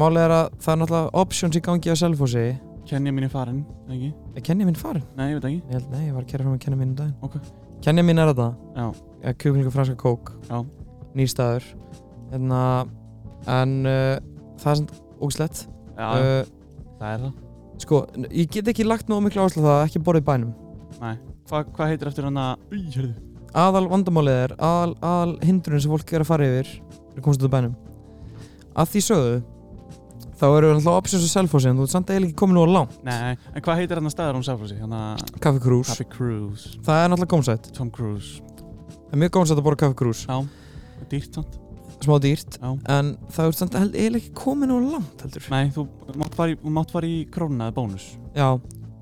málið er að það er náttúrulega options í gangi á selfhósi Kenja mín er farin, eða ekki? Er Kenja minn farin? Nei, ég veit ekki Ég held, nei, ég var að kæra fram að Kenja minn um daginn Ok. Kenja minn er þetta Já, ja, kjúklingu franska kók Já. Nýr staður Hérna, En uh, það er svona ógislegt já uh, það er það Sko, n- ég get ekki lagt nóg miklu áherslu á það að ekki borða í bænum. Hva, Hvað heitir eftir hann að Í, hérðu Aðal vandamálið er, aðal, aðal hindrun sem fólk er að fara yfir er komst út af bænum. Að því sögðu, þá eru alltaf options og self-hósi en þú ert samt eiginlega ekki komin úr langt. Nei, en hvað heitir hann að staður hún sáflósi? Hann að Kaffi Krús. Happy Cruise Það er náttúrulega gómsætt. Tom Cruise Það er mjög gómsætt að borða Kaffi Krús. Já, dýrt samt Smá dýrt. Já En það ert samt held- eiginlega ekki komin úr langt heldur. Nei, þú mátt fara í, þú mátt fara í krónuna eða bónus Já,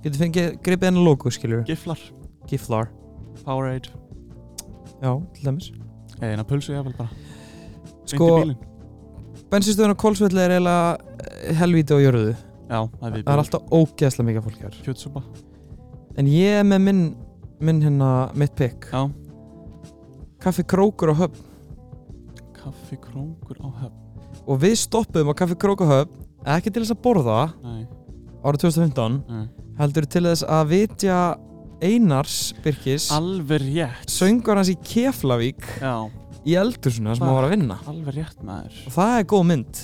getur fengið gripið hennar logo skiljur. Giflar, Giflar. Powerade Já, til dæmis. Eða eina pulsu ég bara Beint í Sko, bílinn. bensinstöðun á Kolsvelli er eiginlega eh, helvíti og jörðu. Já, það er við Það er alltaf ógeðslega mikið fólk hér. Kjötsúpa En ég er með minn, minn hérna, mitt pick Já. Kaffi Krókur á Höfn Kaffi krókur á höfn Og við stoppuðum á Kaffi Krókur á Höfn Ekki til þess að borða Nei, árið 2015 nei Heldur til þess að vitja Einars Birkis Alveg rétt Söngur hans í Keflavík Já, Í eldursuna sem Fuck. hann var að vinna alveg rétt maður Og það er góð mynd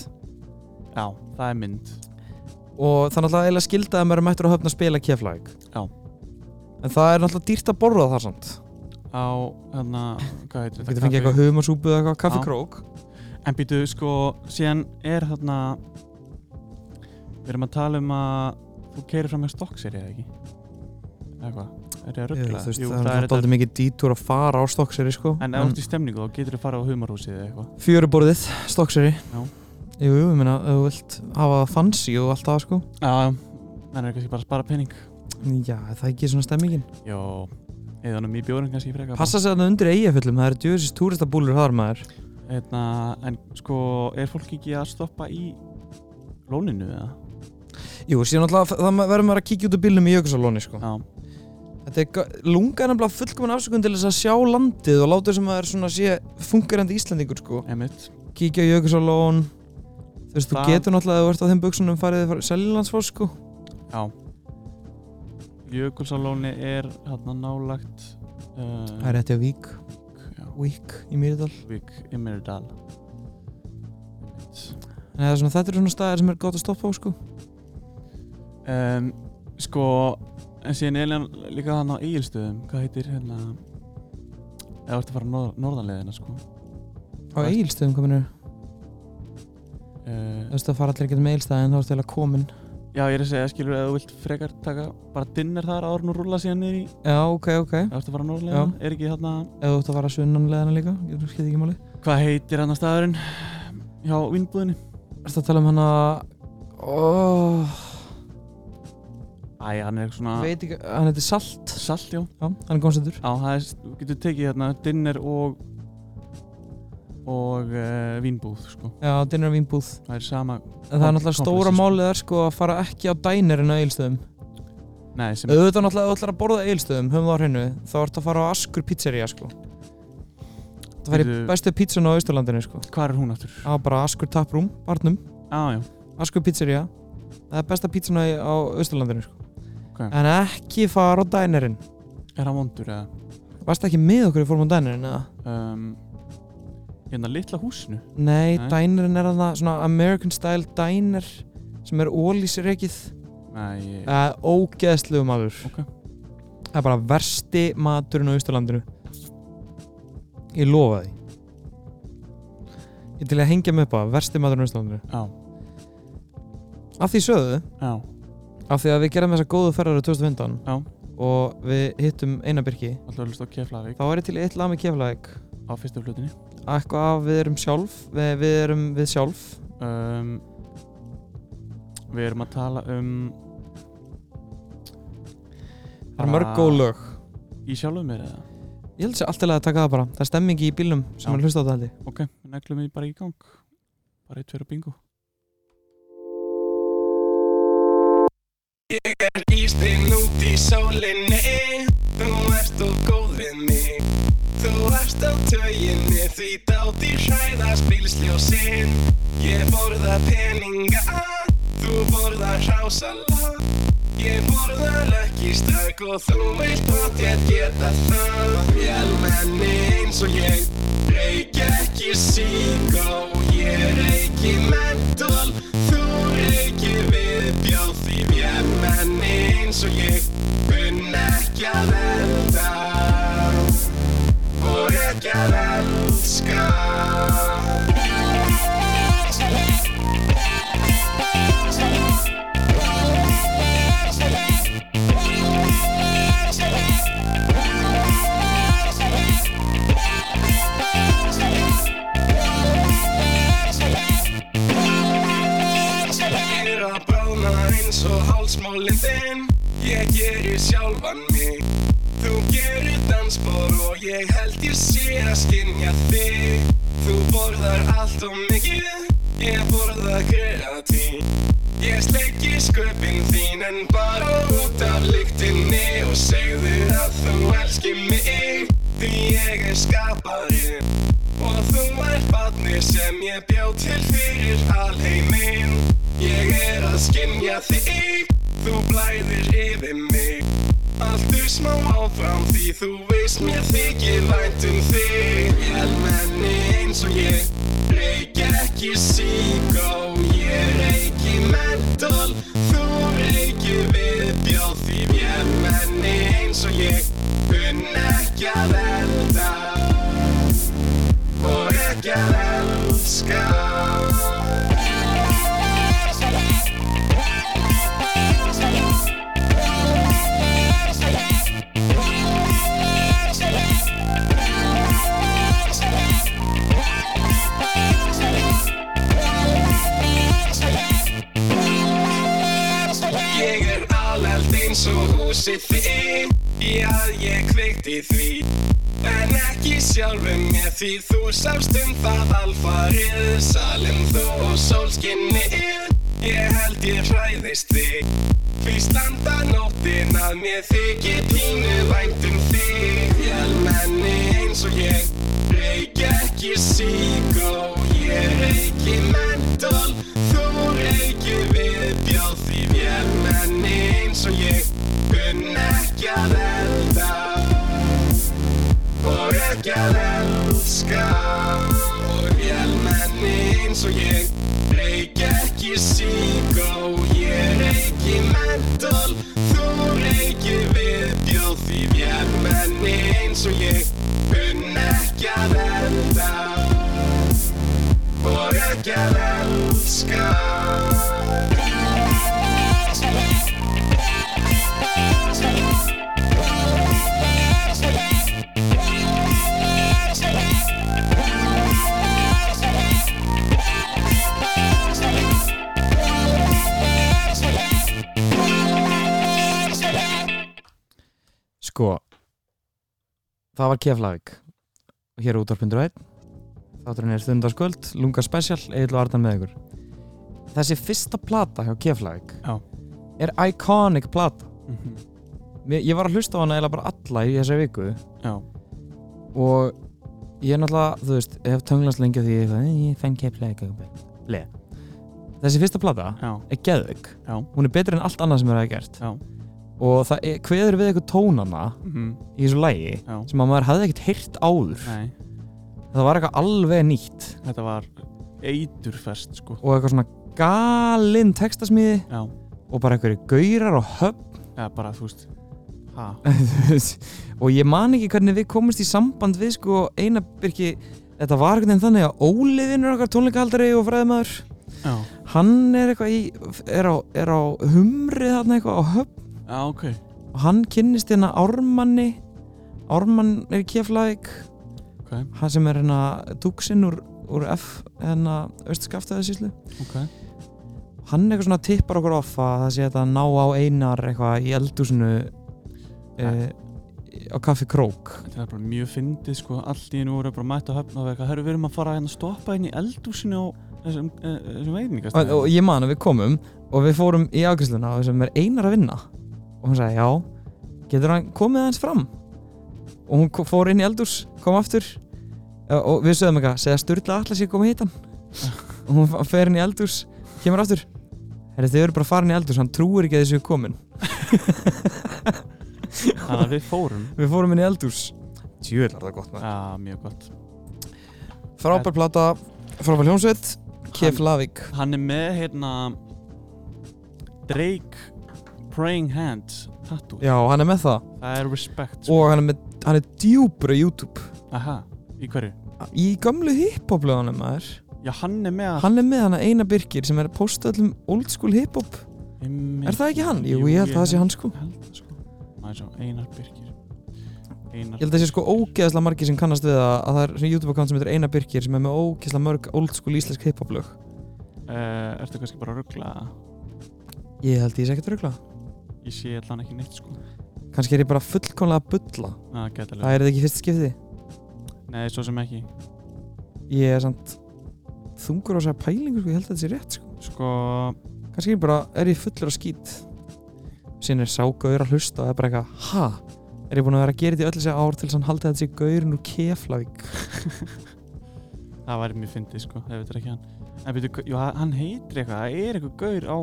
Já, það er mynd og það er náttúrulega eiginlega skilda að maður er mættur að höfna að spila keflæk Já. en það er náttúrulega dýrt að borða þar samt á, hérna, hvað heitir það getur fengið eitthvað humarsúpu eða eitthvað kaffikrók En býtu, sko, síðan er þarna Við erum að tala um að þú keirir fram með stokkseri eða ekki eða hvað, er ég að Jú, ruggla? þú veist, það er náttúrulega mikið dýtur að fara á stokkseri sko. En ef þú ert í stemningu þá getur þú farið á humarhúsið eða eitthvað fjöruborðið, stokkseri Já. jú, jú, ég meina, ef þú vilt hafa það fancy og allt það sko Já, þannig er kannski bara að spara pening já, er það er ekki svona stemmingin Jó, eða hann um í bjórum kannski frekar passa sér þarna undir eigaföllum, það eru djöðsins túristabúlur þar maður Einna, Hérna, En sko, er fólk ekki að stoppa í lóninu eða? jú, síðan náttúrulega, það verður maður að kíkja út á bílnum í jökulsalóni sko. Já, Þetta er ga- lunga er nefnilega fullkomun afsökun til þess að sjá landið og láta sem að það er svona sé fungerandi Íslandingur sko. emitt Kíkja á Jökulsalón, þú veist, þú Það- getur náttúrulega að þú ert á þeim buksunum farið að seljalandsfór sko. Já Jökulsalóni er hérna nálagt Það er uh, rétti á Vík, já, Vík í Mýrdal. Vík, Ymmirdal En það er svona, þetta eru svona staðir sem er gott að stoppa á sko. um, Sko En síðan er hann líka hann á Egilstöðum Hvað heitir hérna Eða ertu að fara norð, norðanleðina sko Á Hvað- Egilstöðum komin eru. Þú uh, veist, það fara allir ekkert með Egilstæðin, þá ertu eiginlega komin. Já, ég er að segja, skilur eða þú vilt frekar taka bara dinner þar áður nú rúla síðan niður í Já, ok, ok. Eða ertu að fara norðanleðina, er ekki hérna Ef þú ert að fara sunnanleðina líka, ég skil ekki máli. Hvað heitir hann að staðurinn hjá vinnbúðinni Ertu að tala um hana... Oh, Æ, hann er svona veit ekki, hann heitir Salt. salt, já Já, hann er gómsendur. Já, það er, þú getur tekið hérna dinner og og uh, vínbúð, sko. Já, dinnar vínbúð. Það er sama, En það er náttúrulega Komplex- stóra komplexið, sko. málið þar sko að fara ekki á dænerin á eilstöðum. nei, sem, Auðvitað náttúrulega ef þú ætlar að borða á eilstöðum, höfum það á hreinu, þá ertu að fara á Askur pizzeria sko. Það fær í Bíddu. bestu pizzan á Ísturlandinu sko. hvað er hún aftur? Já, Það var bara Askur taprúm, barnum, já, Askur pizzeria. Það er besta pizzan á Ísturlandinu sko. Ok. En ekki fara á dænerin. er hann vondur eða? Varst ekki með okkur í fórum á dænerin eða? Um, hérna, litla húsinu? Nei, Nei. dænerin er þarna svona American style dæner sem er ólísreikið. Nei, ég, Það er ógeðslegu maður Ok. Það er bara versti maturinn á Ísturlandinu Ég lofa því Ég er til að hengja mig upp á það, versti maturinn á Ísturlandinu já, Af því sögðu, já, af því að við gerðum þessa góðu ferðar á 2015 Já. og við hittum eina byrki alltaf hlust á Keflavík þá er ég til í eitt lag með keflæk á fyrstu flutinni. eitthvað af við erum sjálf við, við erum við sjálf Um, við erum að tala um það er mörg góð lög í sjálfum mér eða? ég held sér alltaf að taka það bara það er stemmingi í bílnum sem Já. er að hlusta á þetta held ég. Ok, neglum við bara í gang. Bara eitt fyrir bingo. Ég er ístinn út í sólinni Þú ert og góð við mig Þú ert á tauginni Því dáti hræðast bílsljósin Ég borða peninga Þú borða hrásala Ég borða lökkistak Og þú vilt að ég geta það Vélmenni eins og ég Reykja ekki síkó Ég reyki mentól Þú reyki viðbjóð Því vélmenni eins og ég Kunn ekki að venda Og ekki að elska Ég er að brána eins og hálsmálinn þinn Ég gerir sjálfan mig Þú gerir dansbor og ég held ég sé að skinja þig Þú borðar allt og mikið Ég borða kreatín Ég sleiki sköpin þín en bara út af lyktinni Og segðu að þú elski mig Því ég er skaparinn Og þú ert barni sem ég bjá til fyrir alheiminn Ég er að skynja þig, þú blæðir yfir mig Allt er smá áfram því þú veist mér þykir vænt um þig Vélmenni eins og ég reykja ekki síkó Ég reyki mentól, þú eins og húsið þitt Í að ég kveikti því En ekki sjálfum mér því þú sást um það alfarið Salum þú og sólskinni Ég held ég hræðist þig Því standa nóttin að mér þykir pínu vænt um þig Vélmenni eins og ég Reykj ekki síkó Ég reyki mentól Þú reykir viðbjóð Því vélmenni eins og ég Kunn ekki að elda Og ekki að elska Og vélmenni eins og ég Reykj ekki síkó Ég reyki mentól Þú reykir viðbjóð Því vélmenni eins og ég Kunn ekki að elda Og ekki að elska Sko Það var Keflavík og hér er útvarpundur einn þátturinn er stundarskvöld, lunga special eða artan með ykkur Þessi fyrsta plata hjá Keflavík Já. er iconic plata Mhm. Mér- Ég var að hlusta á hana eiginlega bara alla í þessa viku Já, og ég er náttúrulega, þú veist, hef tönglast lengi á því ég, eitthvað, "Eh, ég fenn Keflavík eitthvað." Ble. Þessi fyrsta plata já, er geðvik Já. hún er betri en allt annað sem er að gert já og það er, kveður við eitthvað tónana mm, í þessu lægi Já. sem að maður hafði ekkert heyrt áður Nei, það var eitthvað alveg nýtt þetta var eiturfest sko og eitthvað svona galinn textasmíði Já, og bara einhverju gaurar og höfn eða bara þú veist Ha, þú veist. og ég man ekki hvernig við komumst í samband við sko eina byrki þetta var einhvern veginn þannig að Óliðinur okkar tónleikahaldari og fræðmaður já, hann er eitthvað í er á, er á humri þarna eitthvað á höfn já, ok og hann kynnist hérna Ármanni Ármann er í Keflæk Ok, hann sem er hérna dúksinn úr, úr F hérna austskaftaði síslu ok hann eitthvað svona tippar okkur off að það sé þetta að ná á einar eitthvað í eldúsinu e, á kaffi krók Þetta er bara mjög fyndið sko Allt í hennu voru bara mætt á höfn og eitthvað Herru, við erum að fara hérna að stoppa hérna í eldúsinu og þessum, eh, þessum og, veitingastæðum og ég man að við komum og við fórum í afgriðsluna og þessum er einar að vinna og hann sagði já getur hann komið aðeins fram og hún ko- fór inn í eldús, kom aftur e, og við sögðum eitthvað, segja Sturla allar sér komið hittan og hún fa- fer inn í eldús, kemur aftur Herri, þið eru bara farin í eldús, hann trúir ekki að þessu komin Þannig að við fórum við fórum inn í eldús tjöðlar það gott maður Já, mjög gott Frábær plata, frábær hljómsveit Keflavík Hann er með hérna Drake Praying Hand tattoo Já, hann er með það Það er respect Og hann er, með, hann er djúpur á YouTube sko. Aha, í hverju? Í gömlu hiphop lögunum maður Já, hann er með Hann er með hann að Einar Birkir sem er að posta öllum old school hiphop Einmitt. Er það ekki hann? Jú, ég held að það sé hann sko Ég held það sko Maður svo, Einar Birkir Einar Ég held að það sé sko ógeðslega margir sem kannast við að, að það er svona YouTube account sem heitir Einar Birkir sem er með ógeðslega mörg old school íslensk hiphop lög uh, Ertu kannski bara að ruggla Ég held ég sé ekkert rögla Ég sé allan ekki neitt sko Kannski er ég bara fullkomlega að bulla Það geta Það alveg er það ekki í fyrsta skipti Nei, svo sem ekki Ég er samt þungur á þessar pælingu sko, ég held að þetta sé rétt sko Sko kannski er ég bara, er ég fullur af skít síðan er sá gaur að hlusta og er bara eitthvað, ha? er ég búin að vera að gera þetta í öll þessi ár til þess að hann haldi að þetta sé gaurinn úr Keflavík Það væri mjög fyndið sko Ef þetta er ekki hann En byrju, jú, hann hann heitir eitthvað Það er eitthvað gaur á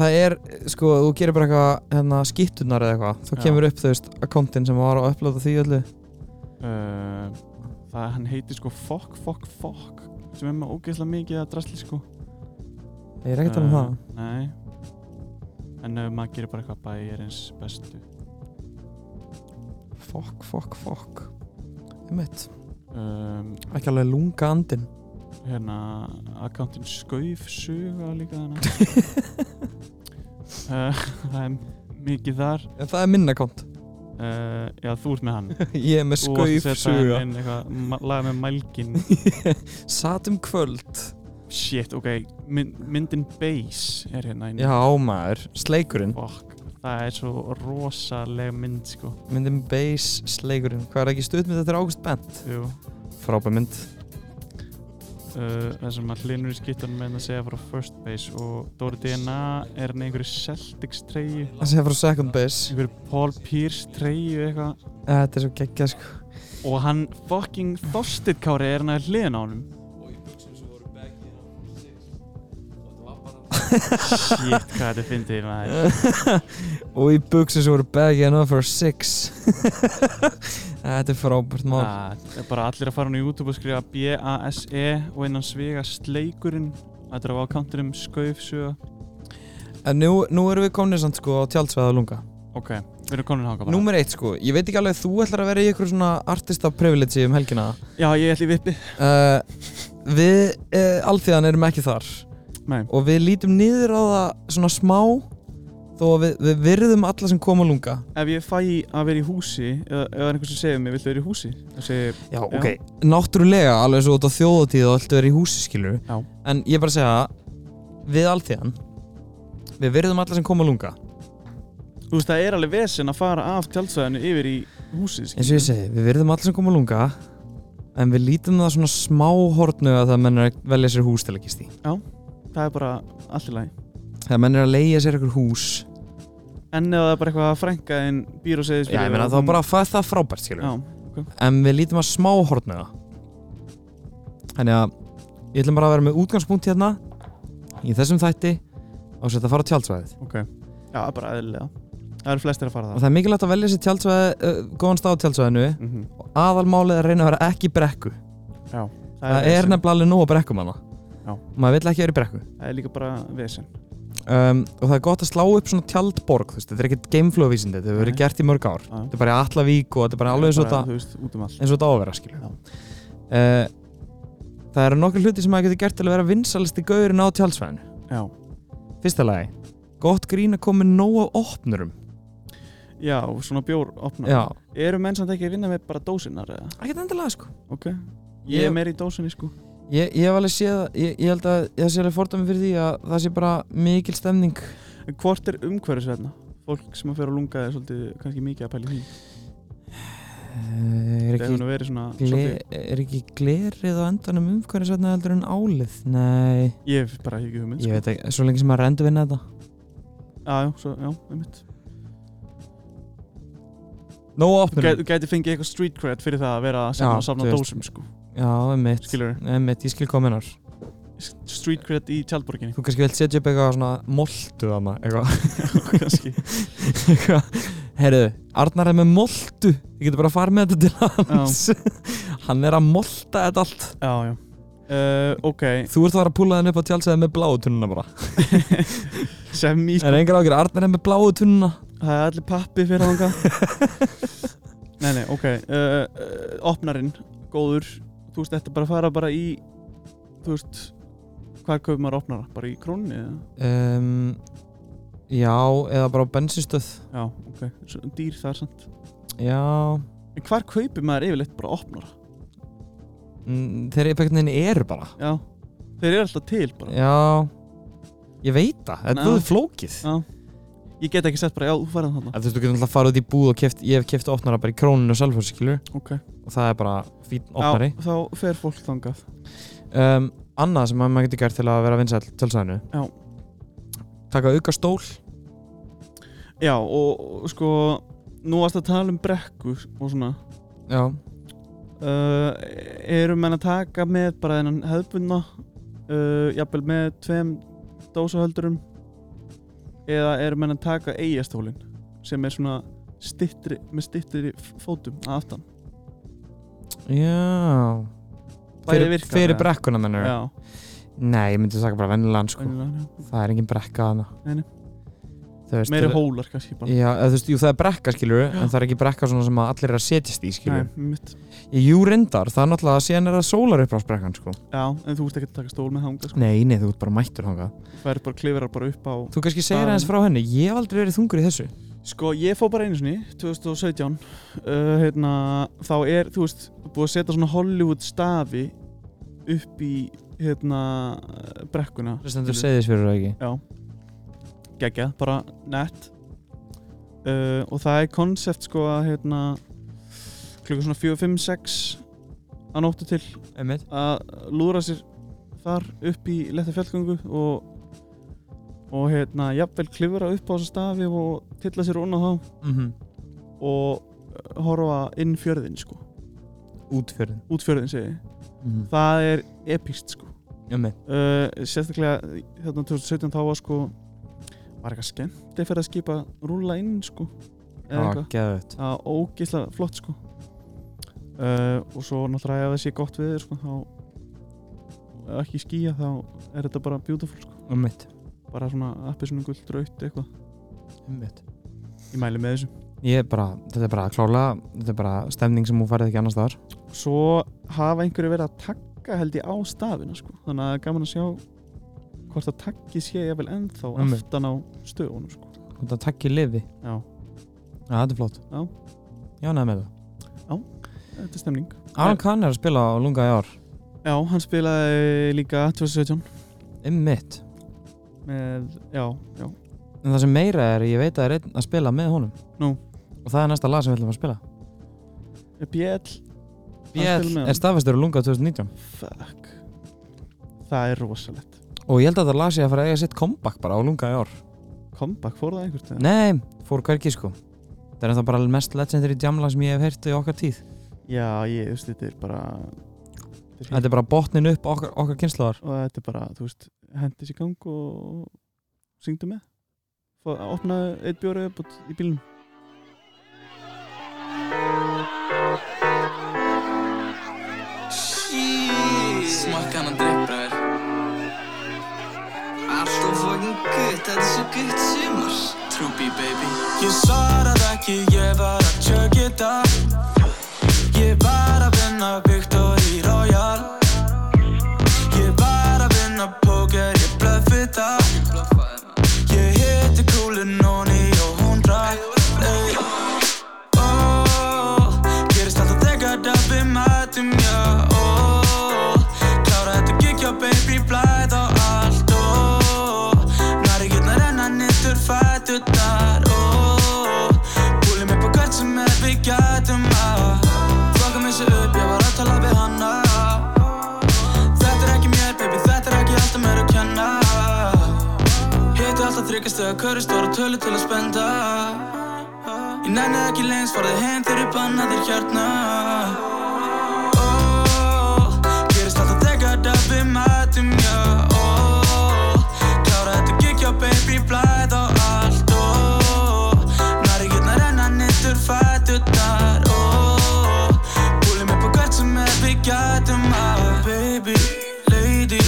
það er, sko, þú gerir bara eitthvað hérna, skýttunar eða eitthvað, þá Já. kemur upp þú veist, akkóntin sem var að upplóta því öllu uh, Það hann heitir sko Fokk, fokk, fokk Sem er með ógeðslega mikið að drasli sko ég er ekkert alveg um það Eh, Nei En ef maður gerir bara eitthvað bæjarins bestu fokk, fokk, fokk einmitt, um, ekki alveg lunga andin Hérna Accountin Skaufsuga líka þannig uh, Það er mikið þar en það er minn akkónt, uh, Já, þú ert með hann ég er með Þú varst að skauf setja suga inn eitthvað ma- Lag með mælgin sat um kvöld, Shit, ok Mynd, Myndin Bass er hérna inn já maður sleikurinn Fuck það er svo rosaleg mynd sko myndin Base Slegurinn hvað er ekki stuðmynd þetta er August Bent Jú. frábær mynd uh, þessum að hlinur í skittan með að segja frá first base og Dóri DNA er hann í einhverju Celtics treyju það sé frá Second Base einhverju Paul Pierce treyju eitthvað þetta er svo geggjað sko og hann fucking Þorstit Kári er hann að hliðin á honum Shit, hvað þetta fyndið maður og í buksum sem voru baggy and over six þetta er frábært mál Ah, Það er bara allir að fara hann á YouTube og skrifa B-A-S-E E og innan svega sleikurinn Þetta er á um kantinum skaufsuga en nú, nú erum við komin samt sko á tjaldsvæða lunga Ok, við erum komin hanga bara Númer eitt sko, ég veit ekki alveg þú ætlar að vera í ykkur svona artista privilegi um helgina Já, ég ætli í vippi uh, Við uh, alþjóðan erum ekki þar Nei. og við lítum niður á það svona smá þó að við, við virðum alla sem koma að lunga Ef ég fæ að vera í húsi eða ef það er einhver sem segir mér, viltu vera í húsi? Það segir, Já, ok. Náttúrulega, alveg svo út á þjóðatíð og allt verið í húsi skilur Já. En ég er bara að segja, við alþjóðan við virðum alla sem koma að lunga þú veist, það er alveg vesen að fara af tjaldsvæðinu yfir í húsi eins og ég segi, við verðum allir sem koma að lunga en við lítum það svona smá hortnu að það menn er að velja sér hús til að gist í Það er bara allir lagi það menn er að leigja sér eitthvað hús En ef það er bara eitthvað að frænka en býr og segir já, ég meina þá bara að fæða það frábært skilur um Já, en við lítum að smá hortnu það þannig að ég ætlum bara að vera með útgangspunkt hérna í þessum þætti og setja að fara á tjaldsvæðið ok Já, bara eðlilega Það eru flestir að fara og það það er mikilvægt að velja sér tjaldsvæði, uh, góðan stað á tjaldsvæðinu mm -hmm. og aðalmálið er að reyna að vera ekki í brekku það, er vesen. nefnilega alveg nóg að brekkum hana Já. maður vill ekki vera í brekku Það er líka bara vesen um, og það er gott að slá upp svona tjaldborg þú veist, þetta er ekkert gameflowvísindi, þetta hefur verið Nei. gert í mörg ár Já. þetta er bara í Allavík og þetta er bara alveg eins og Bara, þetta Þú veist, út um allt eins og þetta á að vera skilju uh, það eru nokkur hluti sem maður getur gert til að vera vinsalisti gaurinn á tjaldsvæðinu Já, fyrsta lagi, gott grín að koma með nóg af opnurum já svona bjór opna já, Eru menn samt ekki að vinna með bara dósinar eða? ekkert endilega sko Ok Ég er Ég- meir í dósinni sko ég, ég hef alveg séð, ég, ég held að ég sé alveg fordæmi fyrir því að það sé bara mikil stemning En hvort er umhverfisverna? Fólk sem að fyrir að lunga er svolítið kannski mikið að pæla í því uh, er Það ekki hefur nú verið svona Gle svolítið, er ekki glerið á endanum umhverfisvætna heldur en álið? Nei, Ég hef bara ekki hugmynd ég sko. veit ekki, svo lengi sem maður rendur vinna þetta Já, já, svo, já, einmitt Nó Þú opnur gæ- þú gæti fengið eitthvað street cred fyrir það að vera að safna, Já, safna þú veist. dósum sko Já, emmitt, Skilurðu? emmitt, ég skil kominar sko. Street cred í tjaldborginni Þú kannski vilt setja upp eitthvað svona moltu þarna, eitthvað kannski eitthvað. Herðu, Arnar er með moltu Ég getur bara að fara með þetta til hans Hann er að molta þetta allt Já, já uh, Ok, Þú ert að fara að púla þenni upp á tjálsæði með bláu tunnuna bara sem í Það er engar ágjur, Arnar er með bláu tunnuna Það er allir pappi fyrir þanga Nei, nei, ok uh, uh, Opnarinn, góður Þú veist, þetta bara að fara bara í Þú veist, hvað kaupir maður opnara? Bara í krónni eða? um, Já, eða bara á bensinstöð Já, ok, Svo dýr þar samt Já, En hvar kaupir maður yfirleitt bara opnara? mm, þeir eru einhvern veginn eru bara Já, þeir eru alltaf til bara Já Ég veit það, þetta Ná. er búið flókið Já. Ég get ekki sett bara, já, þú farið þarna En Þú veist, þú getur náttúrulega að fara út í búð og keft, ég hef keft opnara bara í króninu og sjálfur, skilur Ok, og það er bara fín opnari já, þá fer fólk þangað um, Annað sem maður getur gert til að vera vinsæl tjálsæðinu Já. Taka auka stól Já, og, og sko Nú varst að tala um brekku og svona Já uh, eru menn að taka með bara þennan hefðbundna uh, jafnvel með tveim dósahöldurum eða eru menn að taka eigastólin sem er svona stittri, með stittri f- fótum að aftan Já Bæði Fyrir, virkar, fyrir eða? brekkuna mennur Já, Nei, ég myndi taka bara vennilegan sko venjulega, Það er engin brekka að Nei, nei. já. Veist, meiri þeir- hólar kannski bara Já, eða þú veist, jú, það er brekka skilur en það er ekki brekka svona sem að allir er að setjast í skilur Nei, mitt. Jú, reyndar, það er náttúrulega síðan er það sólar sko. Já, en þú ert ekki að taka stól með hanga sko. Nei, nei, þú ert bara mættur hangað Það er bara klifrar bara upp á Þú kannski segir Það- aðeins frá henni, ég hef aldrei verið þungur í þessu Sko, ég fór bara einu sinni, 2017 uh, hérna, þá er, þú veist búið að setja svona Hollywood stafi upp í hérna, eh, brekkuna Þú stendur segðis fyrir það ekki geggjað, bara nett uh, og það er konsept sko að hérna, klukka svona 4, 5, 6 að nóttu til einmitt að lúra sér þar upp í letta fjallgöngu og, og hérna jafnvel klifra upp á þessa stafi og tilla sér unna þá mm -hmm. og uh, horfa inn fjörðin sko, Útfjörðin út fjörðin segi ég. mm það er epíst sko Einmitt uh, sérstaklega hérna 2017 þá var sko var eitthvað skemmt að skipa rúla inn sko eða Já, eitthvað geðvögt það var ógeðslega flott sko uh, og svo náttúrulega ef það sé gott við sko, þá ef ekki skýja þá er þetta bara beautiful sko Einmitt bara svona appi svona guld raut eitthvað Einmitt ég mæli með þessu Ég er bara, þetta er bara klálega Þetta er bara stemning sem hún farið ekki annars þar svo hafa einhverju verið að taka held ég á stafina sko þannig að það er gaman að sjá hvort að takki sé ég vel ennþá Einmitt. aftan á stöðunum sko Og það takk í lifi já, Já, þetta er flott Já. Já, neða með það þetta er stemning Alan Kahn er að spila á lunga í ár já, hann spilaði líka 2017 Einmitt með, já, já En það sem meira er, ég veit að það er einn að spila með honum Nú. Og það er næsta lag sem við ætlum að spila BL, Hann spilar með BL honum. er staðfestur á lunga 2019 fuck það er rosalegt Og ég held að það lag sé að fara að eiga sitt comeback bara á lunga í ár comeback, fór það einhvert? eða? Nei, fór hvergi sko Það er ennþá bara mest legendary jamlag sem ég hef heyrt í okkar tíð Já, ég, þú veist, þetta er bara Þetta er bara botnin upp okkar, okkar kynnslóðar og þetta er bara, þú veist, hendis í gang og syngdu með og opnaði eitt bjóri upp út í bílnum Smakka hann að dreipbraður Allt of fucking gutt, þetta er svo gutt sumar Trúbi baby Ég svarað ekki, ég var að tjögg it up Ég var að vinna Victory Royal Ég var að vinna póker, ég blöffi það Ég hitti kúlu Nóni og hún drakk ey. Ó, Gerist alltaf þegar það við mætum, já ó. Klára þetta gig, já baby, blæð á allt ó. Nari getna renna nýttur fæturnar Búlum upp á hvert sem er við gætum að Flokka mig sér upp, ég var að tala við hanna Þetta er ekki mér, baby, þetta er ekki allt um mér að kenna Hitti alltaf þryggjast eða körri stóra tölu til að spenda Ég nenni ekki leins, farði heim þegar ég banna þér hérna Ó, Gerist alltaf þegar það við mætum, já ó, Klára þetta gig, já baby, blæð á allt ó, Nari getna renna nýttur fæturnar ó, Búlum upp á hvert sem er við gætum að Baby, lady,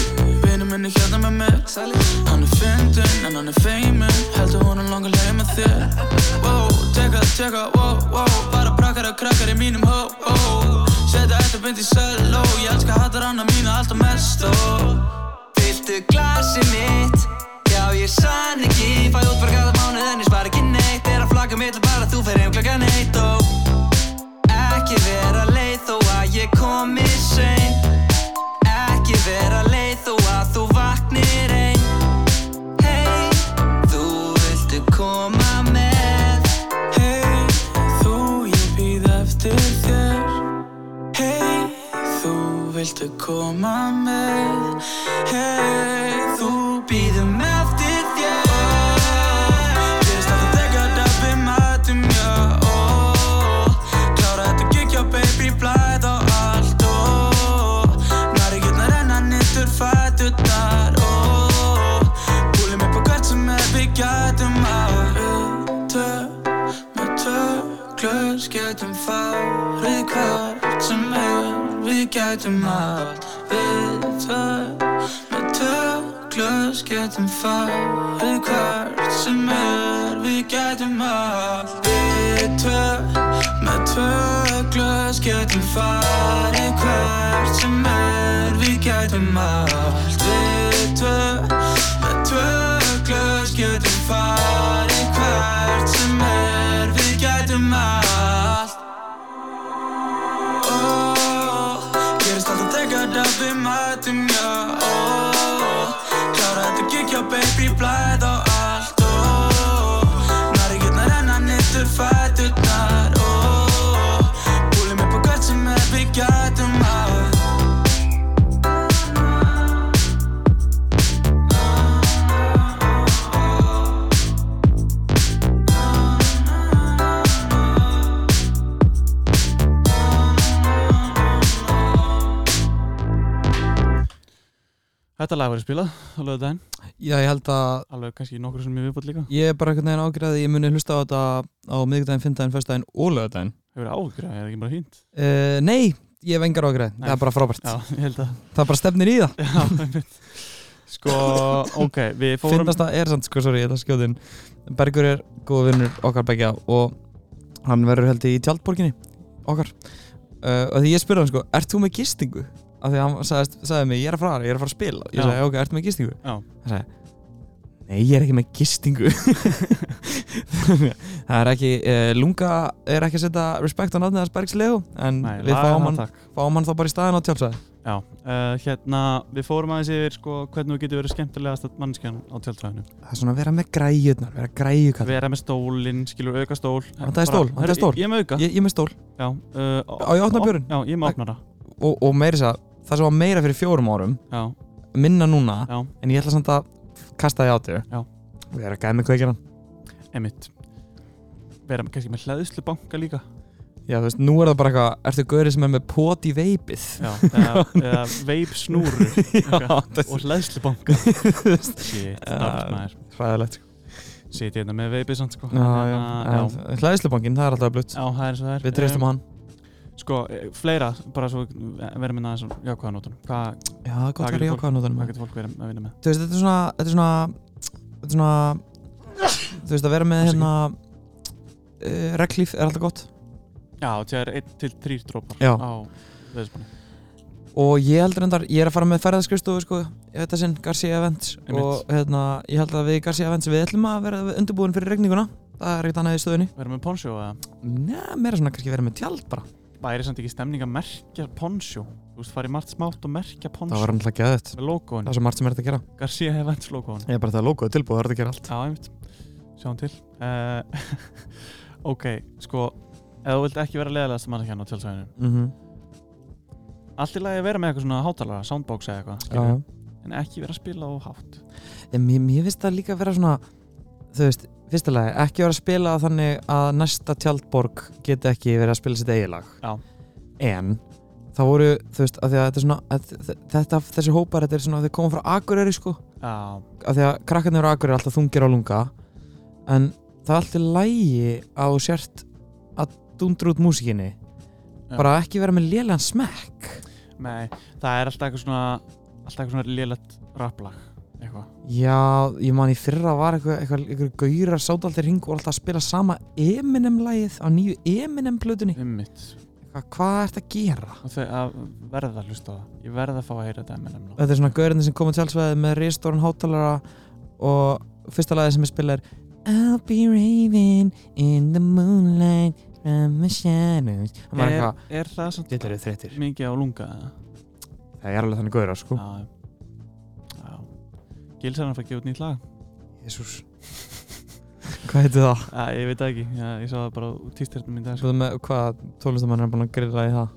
vinur minni hérna með mér Hann er fyndinn, en hann er feiminn Heldur hún er langar leið með þér Wow, teka, teka, wow, wow Bara brakkar og krakkar í mínum hó, hó Seta þetta beint í söló Ég elska hattar hana mína alltaf mest og Viltu glasi mitt? Já, ég sann ekki Fæ út bara gæða mánuð en ég spara ekki neitt Er að flagga mitt bara þú fer heim klokkan eitt og Ekki vera leið þó að ég komi sein Ekki vera leið þó að þú vaknir ein Hey, þú viltu koma með Hey, þú ég býð eftir þér Hey, þú viltu koma með Hey, þú býðum eftir þér Gerist alltaf þegar það við mætum, já ó. Klára þetta gig, já baby, blæð á allt ó. Nari getna renna nýttur fæturnar ó. Búlum upp á hvert sem er við gætum að Utu með töklus getum farið hvert sem er við gætum að Utu með töklus getum farið hvert sem er við gætum að Við tvö með töklus getum farið hvert sem er við gætum að Við tvö með tvö glöðs getum farið hvert sem er við getum allt oh, gerist alltaf þegar það við mætum já oh, klára þetta gig já baby blæð á allt oh, nari getna renna nýtt Þetta lag verið spilað á lögudaginn, Já, ég held að alveg kannski nokkur sem ég viðbútt líka. ég er bara einhvern veginn ágjörði að ég muni hlusta á þetta á miðvikudaginn, fymtudaginn, föstudaginn og lögudaginn Hefur það áhyggjur af, er það ekki bara fínt? uh, Nei, ég hef engar ágjörði, það Nei. er bara frábært Já, ég held að. Það bara stefnir í það Já, einmitt. sko, ok, við fórum... Fyndast það er samt, sko, sorry, ég ætla að skjóðin Bergur er góð vinnur okkar begja og hann verður held ég í tjaldborginni okkar uh, og því ég spurði hann sko, ert þú með gistingu? af því hann sagði, sagði mig, ég er að fara, ég er að fara að spila ég Já. sagði, ok, ertu með gistingu? Já. hann sagði nei, ég er ekki með gistingu það er ekki uh, lunga er ekki að setja respekt á nafnið hans Bergs Leo en Nei, við laga fáum það, hann, takk. fáum hann þá bara í staðin á tjálsæði Já, uh, hérna, við fórum aðeins yfir sko, hvernig þú getur verið skemmtilegast að mannskjan á tjáltræðinu. það er svona að vera með græjurnar, vera græju kall Vera með stólinn, skilur auka stól. Vantaði stól, vantaði Bara- Herru, stól. Ég, ég er með auka. ég, ég er með stól Já. Uh, Á, ég að opna bjórinn? Já, ég er með að opna það. og, og meira þess að það sem var meira fyrir fjórum árum Já, minna núna, já, en ég ætla samt að kasta því á þér Já. og ég er að gæða með kveikina emitt. Vera kannski með hlæðslu banka líka. já þú veist, nú er það bara eitthvað, ertu gaurið sem er með pot í veipið Já, eða, eða veip snúru það og hlæðslu banka. veist, Shit, Já. náttúrulega. hræðilegt sko. Sitið hérna með veipið samt sko. já, já, Hérna, já. já. hlæðislubankin, það er alltaf blutt Já, það er eins og það er. við treystum á hann Um, Sko, eh, fleira, bara svo eh, verðum við næðins á jákvæðanótunum. Hvað já, það er Hvað gott að vera í getur fólk- ákvæðanótanum hvað getur fólk verið að vinna með? þú veist, þetta er svona þetta er svona, þetta er svona þú veist, að vera með hérna uh, reglíf er alltaf gott Já, þegar 1 til 3 drópar Já. á veðismanni. og ég held reyndar, ég er að fara með ferðarskristofu sko, í þetta sinn, Garcia Events Einmitt. og hérna, ég held að við Garcia Events við ætlum að vera undirbúin fyrir regninguna það er ekkert annað í stöðunni Verðum við poncho eða? Njá, meira svona kannski vera með tjald bara Væri samt ekki stemning að merkja poncho? Þú veist, farið margt smátt og merkja poncho það var alltaf geðið, með logoinu. það er svo margt sem er þetta að gera Garcia Events logoinu. ég er bara það logoð tilbúið, það er þetta að gera allt Já, einmitt. Sjáum til. Uh, ok, sko, ef þú vilt ekki vera leðalegast mann hérna á tjálsvæðinu. mm Allt í lagi að vera með eitthvað svona hátalara, soundbox eða eitthvað, skilur. -hmm. En ekki vera að spila á hátt. en mér, mér finnst það líka vera svona þú veist, fyrsta lagi, ekki vera að spila þannig að næsta tjaldborg geti ekki verið að spila sitt eigilag Já. en það voru, þú veist, af því að þetta er svona að, þetta, þessi hópar, þetta er svona, þeir koma frá Akureyri sko, Já, af því að krakkarnir á Akureyri alltaf þungir á lunga en það er alltaf lægi á sért að dundra út músikinni Já. bara ekki vera með lélan smekk nei, það er alltaf eitthvað svona, alltaf eitthvað svona lélætt rapplag, eitthvað. já, ég man í fyrra var eitthvað, eitthvað, eitthvað gaurar sátaldir hing og alltaf að spila sama Eminem-lægið á nýju Eminem-plötunni Ummitt. hvað, hvað ert að gera? Og þau að verða að hlusta á það. Ég verða að fá að heyra þetta Eminem lag. þetta er svona gaurinn sem komið tjálsveðið með reistóran hátalara og fyrsta lagið sem ég spila er I'll be raving in the moonlight from the shadows og maður er Er, eitthvað, er það samt þetta eru þreytir mikið á lunga eða? það er alveg þannig gaurar sko Já. Já. Gils er hann að fara að gefa út nýtt lag? Jésús hvað heitir það? Æ, ég veit það ekki. Já, ég sá það bara út tísternum í dag. Sko. Svo með, hvað tólustamann er búin að grilla í það?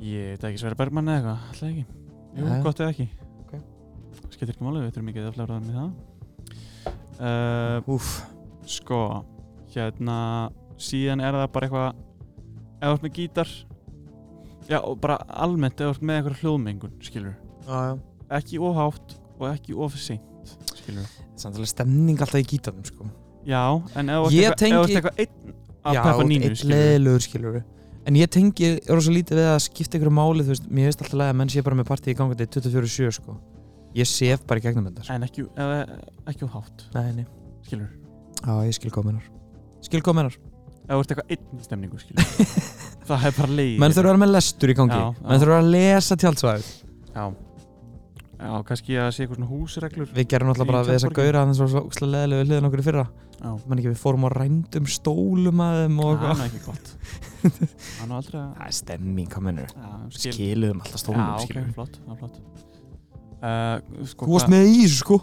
Ég veit það ekki Sverre Bergmann eða eitthvað. Alltaf ekki. Jú, Jæja. gott eða ekki. Ok. Skiptir ekki máli, við þurfum mikið að flára það með það. Uh, Úf, sko, hérna, síðan er það bara eitthvað, ef þú ert með gítar, já, og bara almennt ef þú ert með eitthvað hljóðmengun, skilur. aðja Ekki ofhátt og ekki ofseint, skilur. Samt alveg stemning alltaf í gítarnum sko Já, en ef þú Ég ert eitthvað- ef þú ert tengi- eitthvað einn að peppa nínu, skilur. leðilegur skilur En ég tengi rosa lítið við að skipta ykkur máli þú veist, mér veist alltaf að menn sé bara með partíi í gangandi 24-7 sko Ég sef bara í gegnum þetta sko. En ekki, eða, ekki of hátt, Nei, nei, skilur. á ég skil kominar Skil kominar Ef þú ert eitthvað einn í stemningu, skilur. það er bara leið. Menn þurfa að vera með lestur í gangi Já, já. Menn þurfa að lesa tjálsvæð Já. Já, kannski að sé eitthvað svona húsreglur. Við gerum alltaf bara Í við þess að tjaldborginni. gaura þannig svo ókslega leðilegu hliðin okkur í fyrra Já. Man ekki, við fórum á rændum stólum að þeim og Það eitthvað er nú ekki gott. Það er nú aldrei að... Það er stemming kominar Já, skil. Skiluðum alltaf Já, stólum ok, skilur flott, það er flott. Uh, sko, Þú varst hvað, með í þessu sko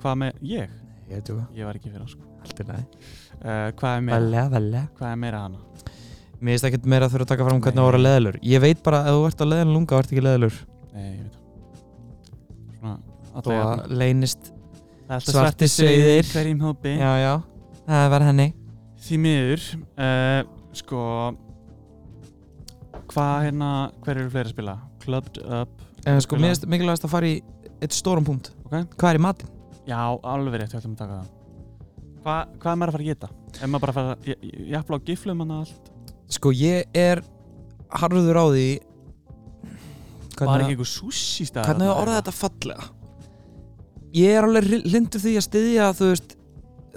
hvað með... Ég? Ég veit ekki, Ég var ekki fyrir, sko. allt er næ Uh, hvað er meira? Valega, valega Hvað er meira hana? Mér finnst ekkert meira að þurfa að taka fram hvernig Nei. það voru að leðalur Ég veit bara að ef þú ert að leðan lunga, þú ert ekki leðalur Nei, ég veit það. Svona... alla Þó jafna. að leynist Það er alltaf Svartir sauðir sauðir. hverjum hópi Já, já, það var henni Því miður uh, Sko Hvað hérna, hver eru fleiri að spila? Clubbed Up En sko, Eh, Spila. mér finnst sko, mikilvægast að fara í eitt stóran punkt Ok. Hvað er í matinn? Já, alveg rétt, ég ætlum að taka það. Hva, hvað er maður að fara að geta? Er maður bara að fara að, ég, ég, ég á giflum hann allt? Sko ég er harður á því Var að- ekki einhver sushi stæð? Hvernig hefur orðað þetta fallega? Ég er alveg lindur því að styðja þú veist,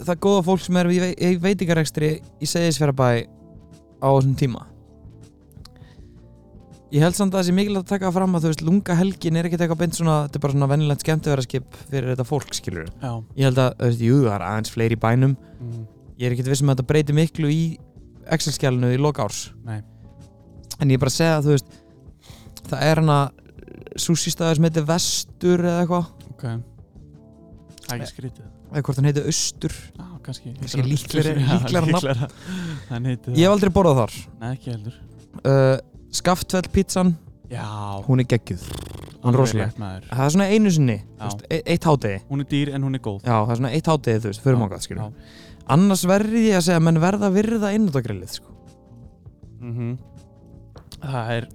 það góða fólk sem er í vei- í veitingarekstri í Seyðisfjörabæ á þessum tíma Ég held samt að það sé mikilvægt að taka fram að þú veist, lunga helgin er ekkert eitthvað beint svona, þetta er bara svona vennilegt skemmtifæraskip fyrir þetta fólk, skilur Já. Ég held að, þú veist, jú, það er aðeins fleiri í bænum Mm. Ég er ekkert vissum að þetta breyti miklu í Excel-skjálinu í loka árs Nei. En ég er bara að segja að þú veist Það er hana sushi-staður sem heitir Vestur eða eitthvað Ok. Það er ekki skrítið. eða Eh, hvort hann heitir Austur Já, kannski. Kannski líklegri- líklegra nafn. Þannig heitir Ég hef aldrei borðað þar Nei, ekki heldur. uh, Skaftfell pizzan, Já. hún er geggjuð alveg rosaleg. rétt maður. Það er svona einu sinni, þú Já. veist, e- eitt hádegi Hún er dýr en hún er góð. Já, það er svona eitt hádegi þú veist, fyrir Já, mangað skilur Annars verði ég að segja að menn verða að virða innátagrilið sko. Mm Það er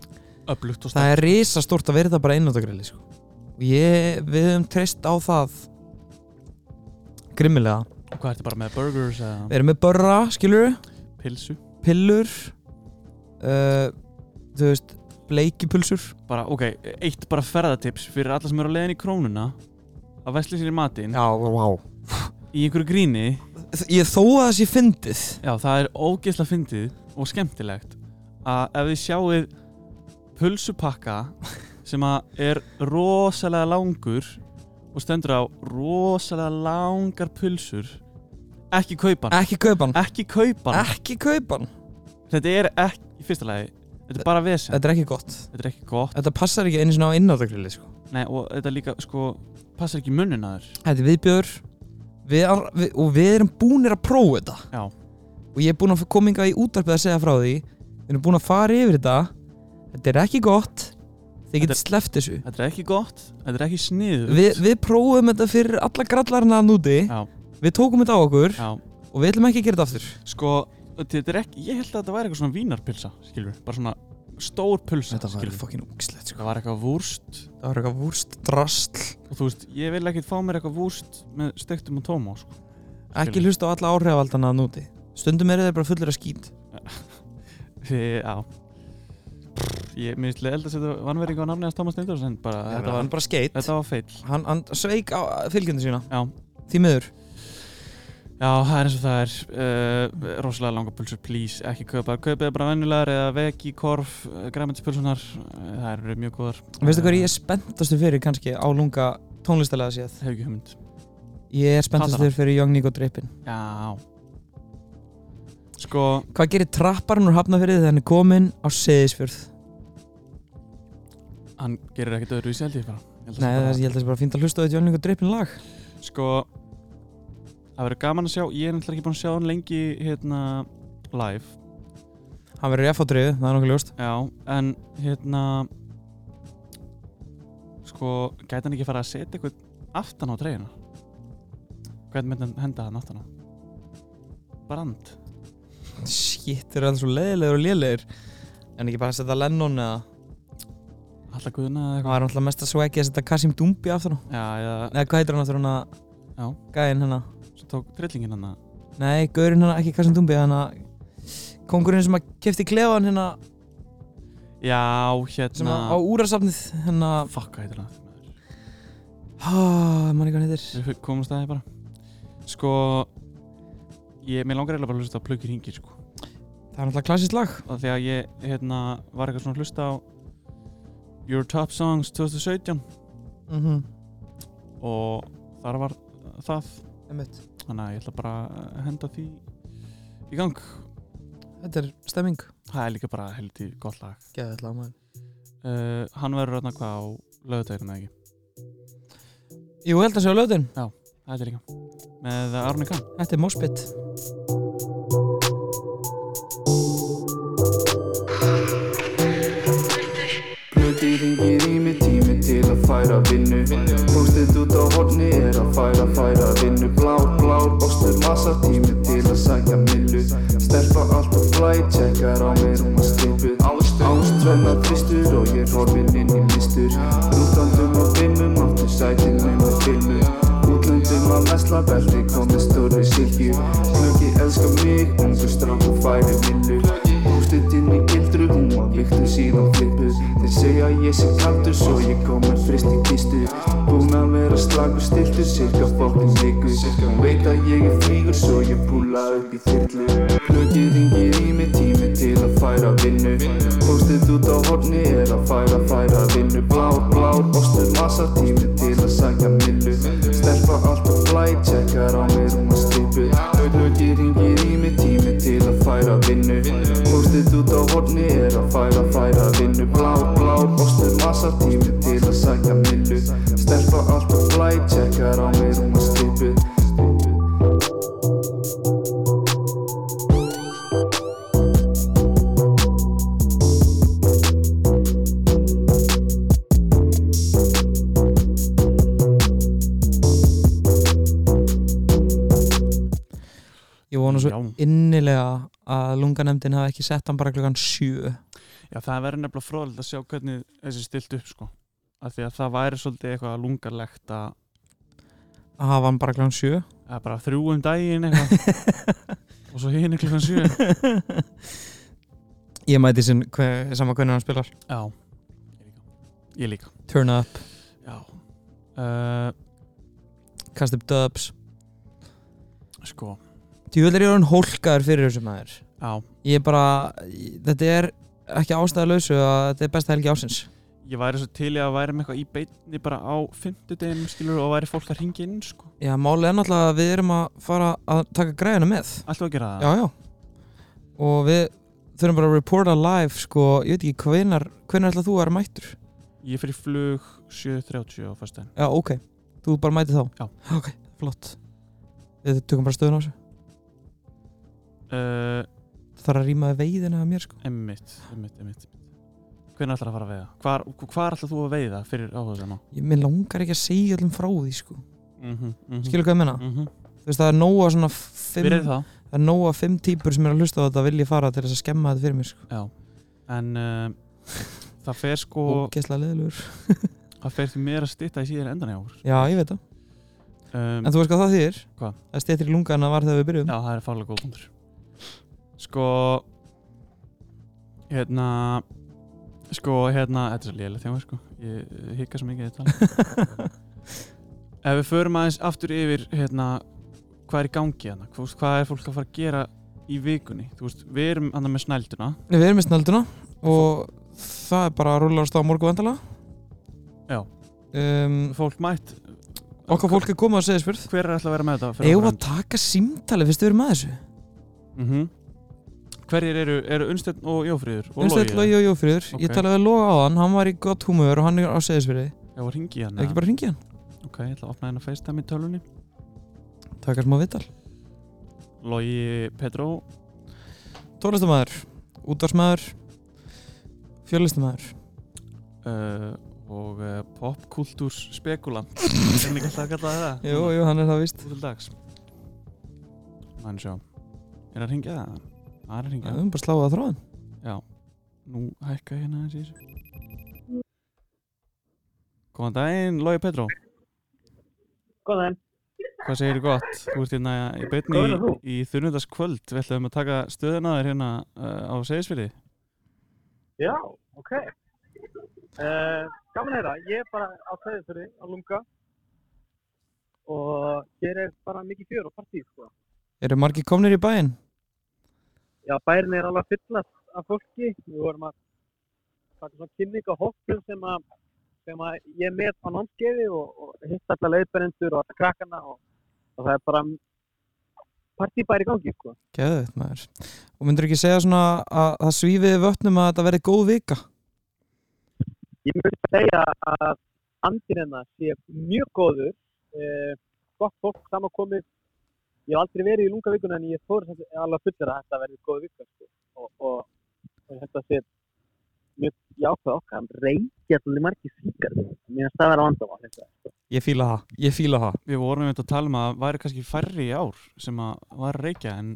öflugt og stærkt. Það er risastórt að verða bara innátagrilið sko. Og ég, við höfum treyst á það Grimmilega Hvað ertu bara með burgers eða Við erum með börra, skilur pilsu? pillur uh, þú veist, bleikipulsur Bara, ok, eitt bara ferðatips fyrir alla sem eru á leiðin í krónuna að vesli sér í matinn wow í einhverju gríni Ég þó að það sé fyndið Já, það er ógeðslega fyndið og skemmtilegt að ef þið sjáið pulsupakka sem að er rosalega langur og stendur á rosalega langar pulsur ekki kaupan, Ekki kaupan, ekki kaupan ekki kaupan þetta er ekki, í fyrsta lagi þetta er bara vesen, Þetta er ekki gott þetta er ekki gott Þetta passar ekki einu svona á innátagrilli sko. Nei, og þetta líka, sko, passar ekki munnin að þér Þetta er viðbjör við, ar- við, og við erum búnir að prófa þetta Já. og ég er búin að koma hingað í útarpið að segja frá því við erum búin að fara yfir þetta þetta er ekki gott þið Þetta getur sleppt þessu þetta er ekki gott, þetta er ekki sniðugt við, við prófum þetta fyrir alla grallarna að núti Já. við tókum þetta á okkur Já, og við ætlum ekki að gera þetta aftur sko, þetta er ekki ég held að þetta væri eitthvað svona vínarpilsa, skilur bara svona stór pulsa, Þetta var skilur fucking ógislegt sko. það var eitthvað vúrst Það var eitthvað vúrst drastl og þú veist, ég vil ekkert fá mér eitthvað vúrst með stektum og tóma sko. Ekki hlusta á alla áhrifaldana að núti Stundum eru þeir bara fullir af skýt Þi, já ég minnst held að setja vannvering á nafni hans Tómas Steindors en bara, þetta, var, bara skeitt þetta var feill hann, hann sveik á fylgjendur sína já, Því miður já, það er eins og það er uh, rosalega langa pulsur, please, ekki kaupa kaupið bara venjulegar eða vegi, korf uh, græmendspulsunar, uh, það eru mjög góðar Veistu hvað ég er spenntastur fyrir kannski á lunga tónlistalega séð hef ekki hugmynd Ég er spenntastur fyrir Young Nico Drippin já sko, Hvað gerir trapparinn úr hafnafyrði þegar hann er komin á seðisfjörð? hann gerir ekkert öðru í seldi bara Ég held að Nei, sé bara- það, ég held að það er bara fínt að hlusta á þetta Young Nico Drippin lag Sko Það verður gaman að sjá Ég er náttúrulega ekki búin að sjá hann lengi Hérna Live Hann verður í F-átriðu, það er nokkuð ljóst Já En hérna Sko Gæti hann ekki fara að setja eitthvað Aftan á treyjuna Hvernig myndi hann henda hann aftan á Brand Shit, þeir eru alltaf svo leiðilegir og lélegir En ekki bara að setja Lennon eða Alla guðuna Það eða eitthvað var náttúrulega mesta swaggi að setja Kasim Dumbi aftur á Já eða Nei, hvað heitir hann aftur hann að Já. Gæinn hérna Svo tók hérna. trillingin hann Nei, gaurinn hérna, ekki Kasim Dumbi Hann að Kongurinn sem að kefti klefan hérna Já Sem hérna að á úrasafnið Hérna Ah, Fuck hvað heitir hann aftur maður? Há, manni hvað hann heitir Við komumst að það bara Sko Ég, mér langar eiginlega bara að hlusta á plökir hingir sko Það er náttúrulega klassist lag og því að ég hérna, var eitthvað svona að hlusta á Your Top Songs 2017 mm -hmm. og þar var það Einmitt. þannig að ég ætla bara að henda því í gang Þetta er stemming það er líka bara heldi gott lag Geðið lag maður uh, hann verður hérna hvað á lögutækina ekki Jú, ég held að segja löðin það er líka með Arne Kahn Þetta er Mospit Hluti ringir í mig tími til að færa vinnu Póstið út á horni er að færa, færa vinnu Blár, blár, bóstur, massa tími til að sækja millu Stelpa alltaf flæ, tjekkar á mér um að skipu Ást, tvenna, tristur og ég er horfinn inn í listur Rútandum og fimmum, aftur sæti Axlabelti komið stóri silkju Klöki elska mig, ungu strák og færi minnu Úrstutt inn í gildru, hún var viktu síðan flippu Þeir segja ég sé kaldur, svo ég kom með frist í kistu Búin að vera slagur stiltu, cirka fokkin viku Hún veit að ég er frígur, svo ég púla upp í þyrlu Klöki ringir í mig, tími til að færa vinnu Póstið út á horni er að færa, færa vinnu Blár, blár, ostur, massa, tími til að sækja millu Stelpa alltaf flæ, tjekkar á mér um að stripu Hluti ringir í mig, tími til að færa vinnu Póstið út á horni er að færa, færa vinnu Blár, blár, ostur, massa, tími til að sækja millu Stelpa alltaf flæ, tjekkar á mér um að stripu Ég vona svo Já. innilega að lunganemdin hafi ekki sett hann bara klukkan sjö Já, það verður nefnilega fróðilegt að sjá hvernig þessi stilt upp sko. Af því að það væri svolítið eitthvað lungarlegt að að hafa hann bara klukkan sjö að bara þrjú um daginn eitthvað og svo hinn er klukkan sjö Ég mæti sinn hver, sama hvernig hann spilar Já, ég líka Turn up, Já uh, kast upp dubs Sko, Djúvel er ég orðin hólkaður fyrir þessu maður já Ég er bara, þetta er ekki ástæðalausu að þetta er besta helgi ásins Ég væri svo til í að væri með eitthvað í beinni bara á fimmtudeginum skilur og væri fólk að ringi inn sko Já, málið er náttúrulega að við erum að fara að taka græðina með Alltaf að gera það Já, já Og við þurfum bara að reporta live sko, ég veit ekki hvenar, hvenar ætla þú að vera mættur Ég fyrir flug 7.30 á fyrstæðin Já, ok, þú bara mætið þá Já. Ok, flott Við tökum bara stöðun á þessu uh, Það þarf að rýma við veiðina að mér sko Emmitt, emmitt, emmitt Hvernig ætlar að fara að veiða? Hvar, hvar ætlar þú að veiða fyrir áhuga sem á? Ég minn langar ekki að segja öllum frá því sko Mm -hmm, mm Skilur hvað ég menna? mm -hmm. Þú veist, það er nóga svona Við fimm, erum það það er nóga fimm típur sem er að hlusta á þetta vil ég fara til þess að skemma þetta fyrir mér sko Já En uh, það fer sko Og gæsla leðilegur Það fer því meira að stytta í síðan endan í ár Já, ég veit það um, En þú veist hvað það þýðir? Hvað? Það stettir í lunga en það var þegar við byrjum Já, það er fálega góð punktur Sko Hérna Sko, hérna, þetta er svo lélega þjóma sko Ég eh, hika svo mikið í þetta Ef við förum aðeins aftur yfir hérna, hvað er í gangi hérna hvað, veist, hvað er fólk að fara að gera í vikunni Þú veist, við erum andan með snælduna Við erum með snölduna og það er bara að rúla á stað á morgu vandala Já. um, Fólk mætt, Okkar fólk er komið að segja spurð hver er alltaf að vera með þetta fyrir Eigum við áfram? að taka símtali fyrst við erum að þessu mm Hverjir eru, eru Unnsteinn og Jófríður og Umstætt Logi Logi? og Jófriður Ég Ok. talaði við Loga á hann, hann var í gott humör og hann er á segðisfyrði ja. Já, hringi hann Ekki bara hringi hann, Ok, ég ætla að opna hérna FaceTime í tölunni taka smá vital Logi Petró Tólistamæður, útvarsmæður Fjörlistamæður uh, og uh, popkultúrs spekulant er hann ekki alltaf að kalla það Jú, jú, hann er það víst Út Hérna. til dags Þannig sjá Er það hringja það? Það er að Við hringja erum bara að sláða þráðan Nú hækka ég hérna aðeins í þessu Góðan daginn, Logi Petró Góðan, Hvað segir þú gott? Þú ert hérna í beinni Góðan, í, í þunnudagskvöld Við ætlum að taka stöðuna þér hérna uh, á segisfili já, ok. Uh, gaman að heyra, ég er bara á fæðið fyrir að lunga og hér er bara mikið fjör og partíð, sko. Eru margir komnir í bæinn? Já, bærin er alveg fyllast af fólki, við vorum að taka svona kynning á hóttum sem að sem að ég er með á námskeiði og, og hitt alla leiðberendur og alla krakkana og, og það er bara partíbæri í gangi, sko. Geðveitt maður Og myndur ekki segja svona að það svífiði vötnum að þetta verði góð vika? Ég myndi segja að andin hennar sé mjög góður, eh, gott fólk samankomið. Ég hef aldrei verið í lungavikuna en ég fór samt alveg fullir að þetta verði góð vika. Sko. Og, og, og eh, þetta sé mjög jákvæð okkar, hann reykja allir margir síkar. Mér finnst það vera vandamál. Þetta. Ég fíla það, ég fíla það Við vorum einmitt að tala um að væri kannski færri í ár sem að var að reykja en,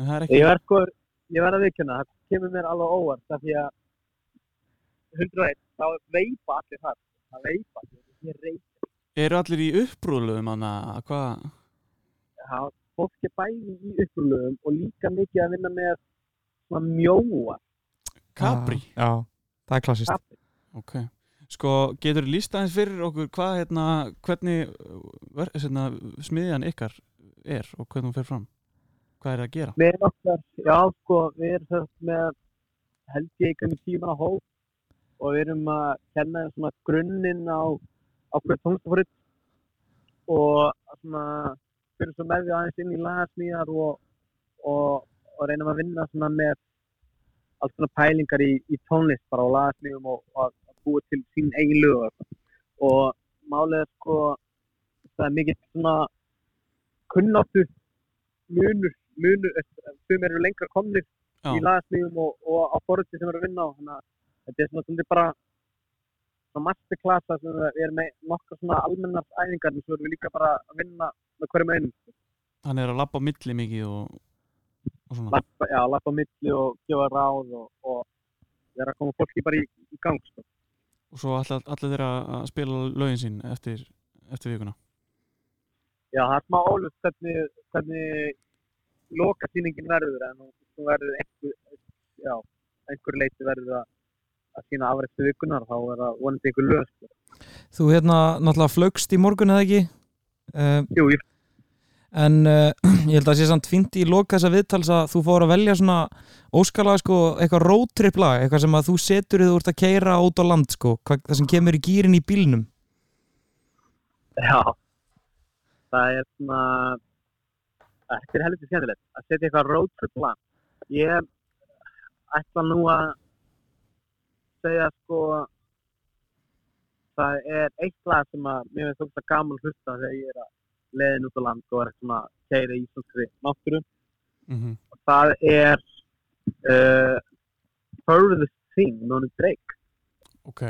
en það er ekki Ég verð sko, ég verð að vikuna, það kemur mér alveg óvart af því að 101, þá veipa allir þar. Það veipa allir, ég reykja. Eru allir í upprúðluðum hann að hvað? það, fólk er bæði í upplöfum og líka mikið að vinna með svona mjóa Capri Já, það er klassist Ok, sko getur líst aðeins fyrir okkur hvað hérna, hvernig uh, ver, hérna, smiðjan ykkar er og hvernig hún fer fram hvað er það að gera? við erum okkar, já sko við erum þess með held ég einhvern tíma hóp og við erum að kenna þeim svona grunninn á á hverju tónstafórið og svona fyrir svo með því aðeins inn í lagasmíðar og, og, og reynum að vinna svona með alls svona pælingar í, í tónlist bara á lagasmíðum og, og að búa til sín eigin lög og eitthvað. og málið er sko það er mikið svona kunnáttu munur, munur sem eru lengra komnir í Já, lagasmíðum og, og á forröldi sem eru að vinna á þannig að þetta er svona svolítið bara svona masterklassa sem við erum með nokkar svona almennast æfingar en svo erum við líka bara að vinna með hverjum einum hann er að labba á milli mikið og, og svona lappa, já, lappa á milli og gefa ráð og, og vera að koma fólki bara í, í gang sko. og svo allir all þeirra að spila lögin sín eftir, eftir vikuna já, það er smá ólust hvernig, hvernig lokasýningin verður en hún- hún verður einhver já, einhver leiti verður að að sína afrættu vikunar þá er það vonandi einhver lög sko. Þú hérna náttúrulega flögst í morgun eða ekki uh, Jú, ég en uh, ég held að sé samt fínt í loka þessa viðtals að þú fór að velja svona óskalag sko eitthvað roadtrip lag eitthvað sem að þú setur þið úr að keira út á land sko hvað, það sem kemur í gýrin í bílnum Já, það er svona, þetta er helviti skemmtilegt, að setja eitthvað roadtrip plan. Ég ætla nú að segja sko, það er eitt lag sem að mér finnst þókst að gaman að hlusta þegar ég er að leiðin út á land og er svona að keira í íslenskri náttúru. mm -hmm. Það er uh, Furthest Thing, núna Drake. Ok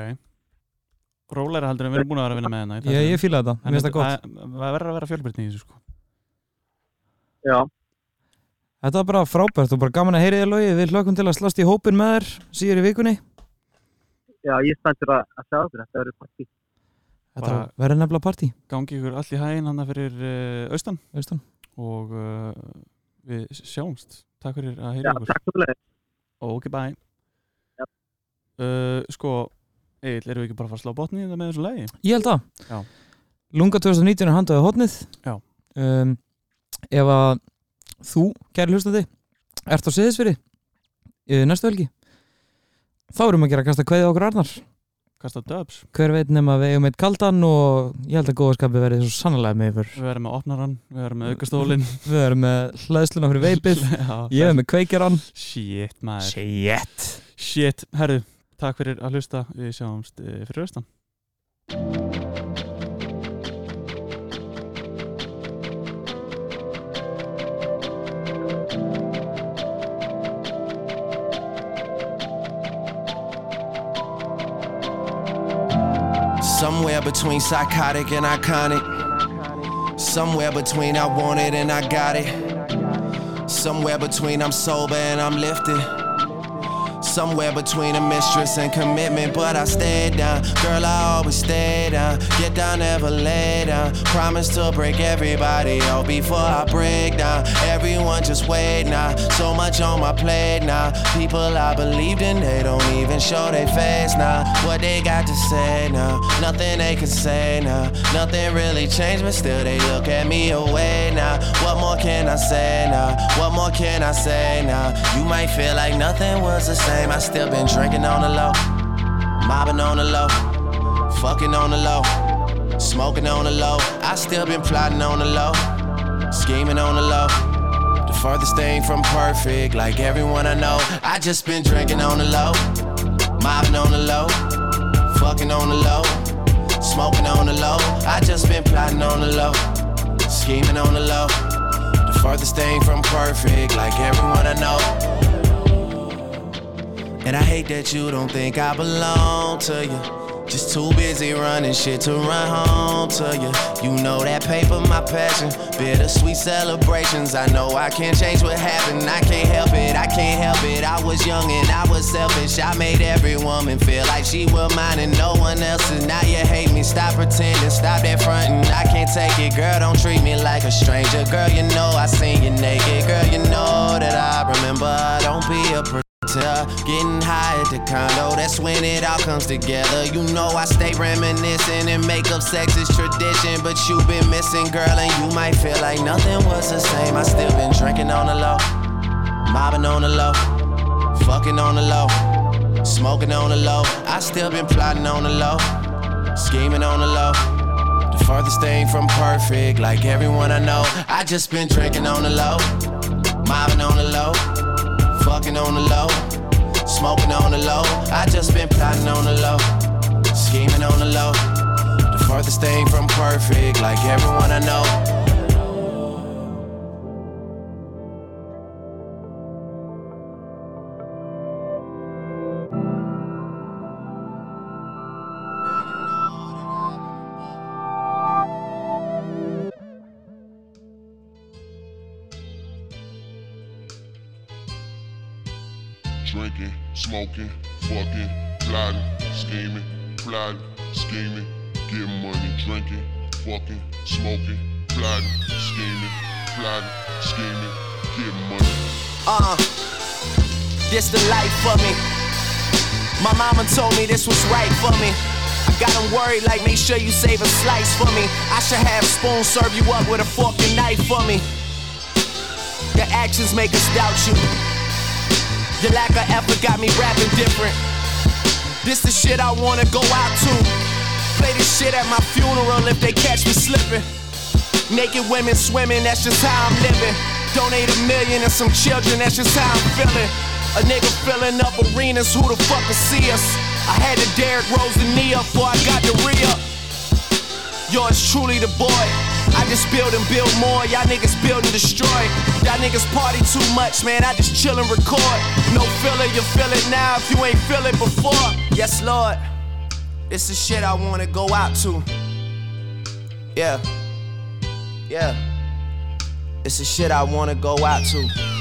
Rólæra heldur en við erum búin að vera að vinna með hérna hennar ég, ég fíla þetta, mér finnst það gott Það verður að vera fjölbreytni í þessu sko Já, Þetta var bara frábært og bara gaman að heyri þér logi við hlökkum til að slast í hópin með þér síður í vikunni já, ég stændir að, að sjá þér, þetta verður partí. Þetta Bara- verður nefnilega partí Gangi ykkur allt í hægin hann fyrir uh, austan veistan og uh, við sjáumst Takk fyrir að Já, heyra ykkur takk fyrir leið. Ok, bye Já. uh, Sko, Egil, erum við ekki bara að fara að slá botni í þetta með þessu lagi? Ég held að Já. Lunga 2019 er handaðið hotnið Já. um, Ef að þú, kæri hlustandi ert á siðisfyrir næstu helgi þá erum við að gera að kasta kveðið okkur Arnar Kasta dubs hver veit nema við eigum eitt kaldan og ég held að góðaskapi verði svo sannlega með yfir Við erum með opnaran, við erum með aukastólin við erum með hlæðsluna fyrir veipið ég er með kveikjaran Shit, maður Shit Shit, herðu, takk fyrir að hlusta Við sjáumst uh, fyrir austan Somewhere between psychotic and iconic. Somewhere between I want it and I got it. Somewhere between I'm sober and I'm lifted. Somewhere between a mistress and commitment, but I stay down. Girl, I always stay down. Get down, never lay down. Promise to break everybody out before I break down. Everyone just wait now. So much on my plate now. People I believed in, they don't even show their face now. What they got to say now? Nothing they can say now. Nothing really changed, but still they look at me away now. What more can I say now? What more can I say now? You might feel like nothing was the same. I still been drinking on the low, mobbing on the low, fucking on the low, smoking on the low. I still been plotting on the low, scheming on the low. The furthest thing from perfect, like everyone I know. I just been drinking on the low, mobbing on the low, fucking on the low, smoking on the low. I just been plotting on the low, scheming on the low. The furthest thing from perfect, like everyone I know. And I hate that you don't think I belong to you. Just too busy running shit to run home to you. You know that paper, my passion. Bittersweet celebrations. I know I can't change what happened. I can't help it, I can't help it. I was young and I was selfish. I made every woman feel like she was mine and no one else's. Now you hate me. Stop pretending, stop that fronting. I can't take it, girl. Don't treat me like a stranger. Girl, you know I seen you naked. Girl, you know that I remember. Don't be a pre- Tell, getting high at the condo, that's when it all comes together. You know I stay reminiscing and make up sex is tradition, but you been missing, girl, and you might feel like nothing was the same. I still been drinking on the low, mobbing on the low, fucking on the low, smoking on the low. I still been plotting on the low, scheming on the low. The farthest thing from perfect, like everyone I know. I just been drinking on the low, mobbing on the low, fucking on the low, smoking on the low. I just been plotting on the low, scheming on the low. The farthest thing from perfect, like everyone I know. Drinking, smoking, fucking, plotting, scheming, plotting, scheming, getting money, drinking, fucking, smoking, plotting, scheming, plotting, scheming, getting money. Uh, this the life for me. My mama told me this was right for me. I got 'em worried, like make sure you save a slice for me. I should have spoon serve you up with a fork and knife for me. Your actions make us doubt you. Your lack of effort got me rapping different. This the shit I wanna go out to. Play this shit at my funeral if they catch me slipping. Naked women swimming, that's just how I'm living. Donate a million and some children, that's just how I'm feeling. A nigga filling up arenas, who the fuck will see us? I had to Derrick Rose the knee up before I got the re up. Yours truly the boy. I just build and build more, y'all niggas build and destroy. Y'all niggas party too much, man. I just chill and record. No filler, you feel it now if you ain't feel it before. Yes, Lord. This is shit I wanna go out to. Yeah. Yeah. It's the shit I wanna go out to.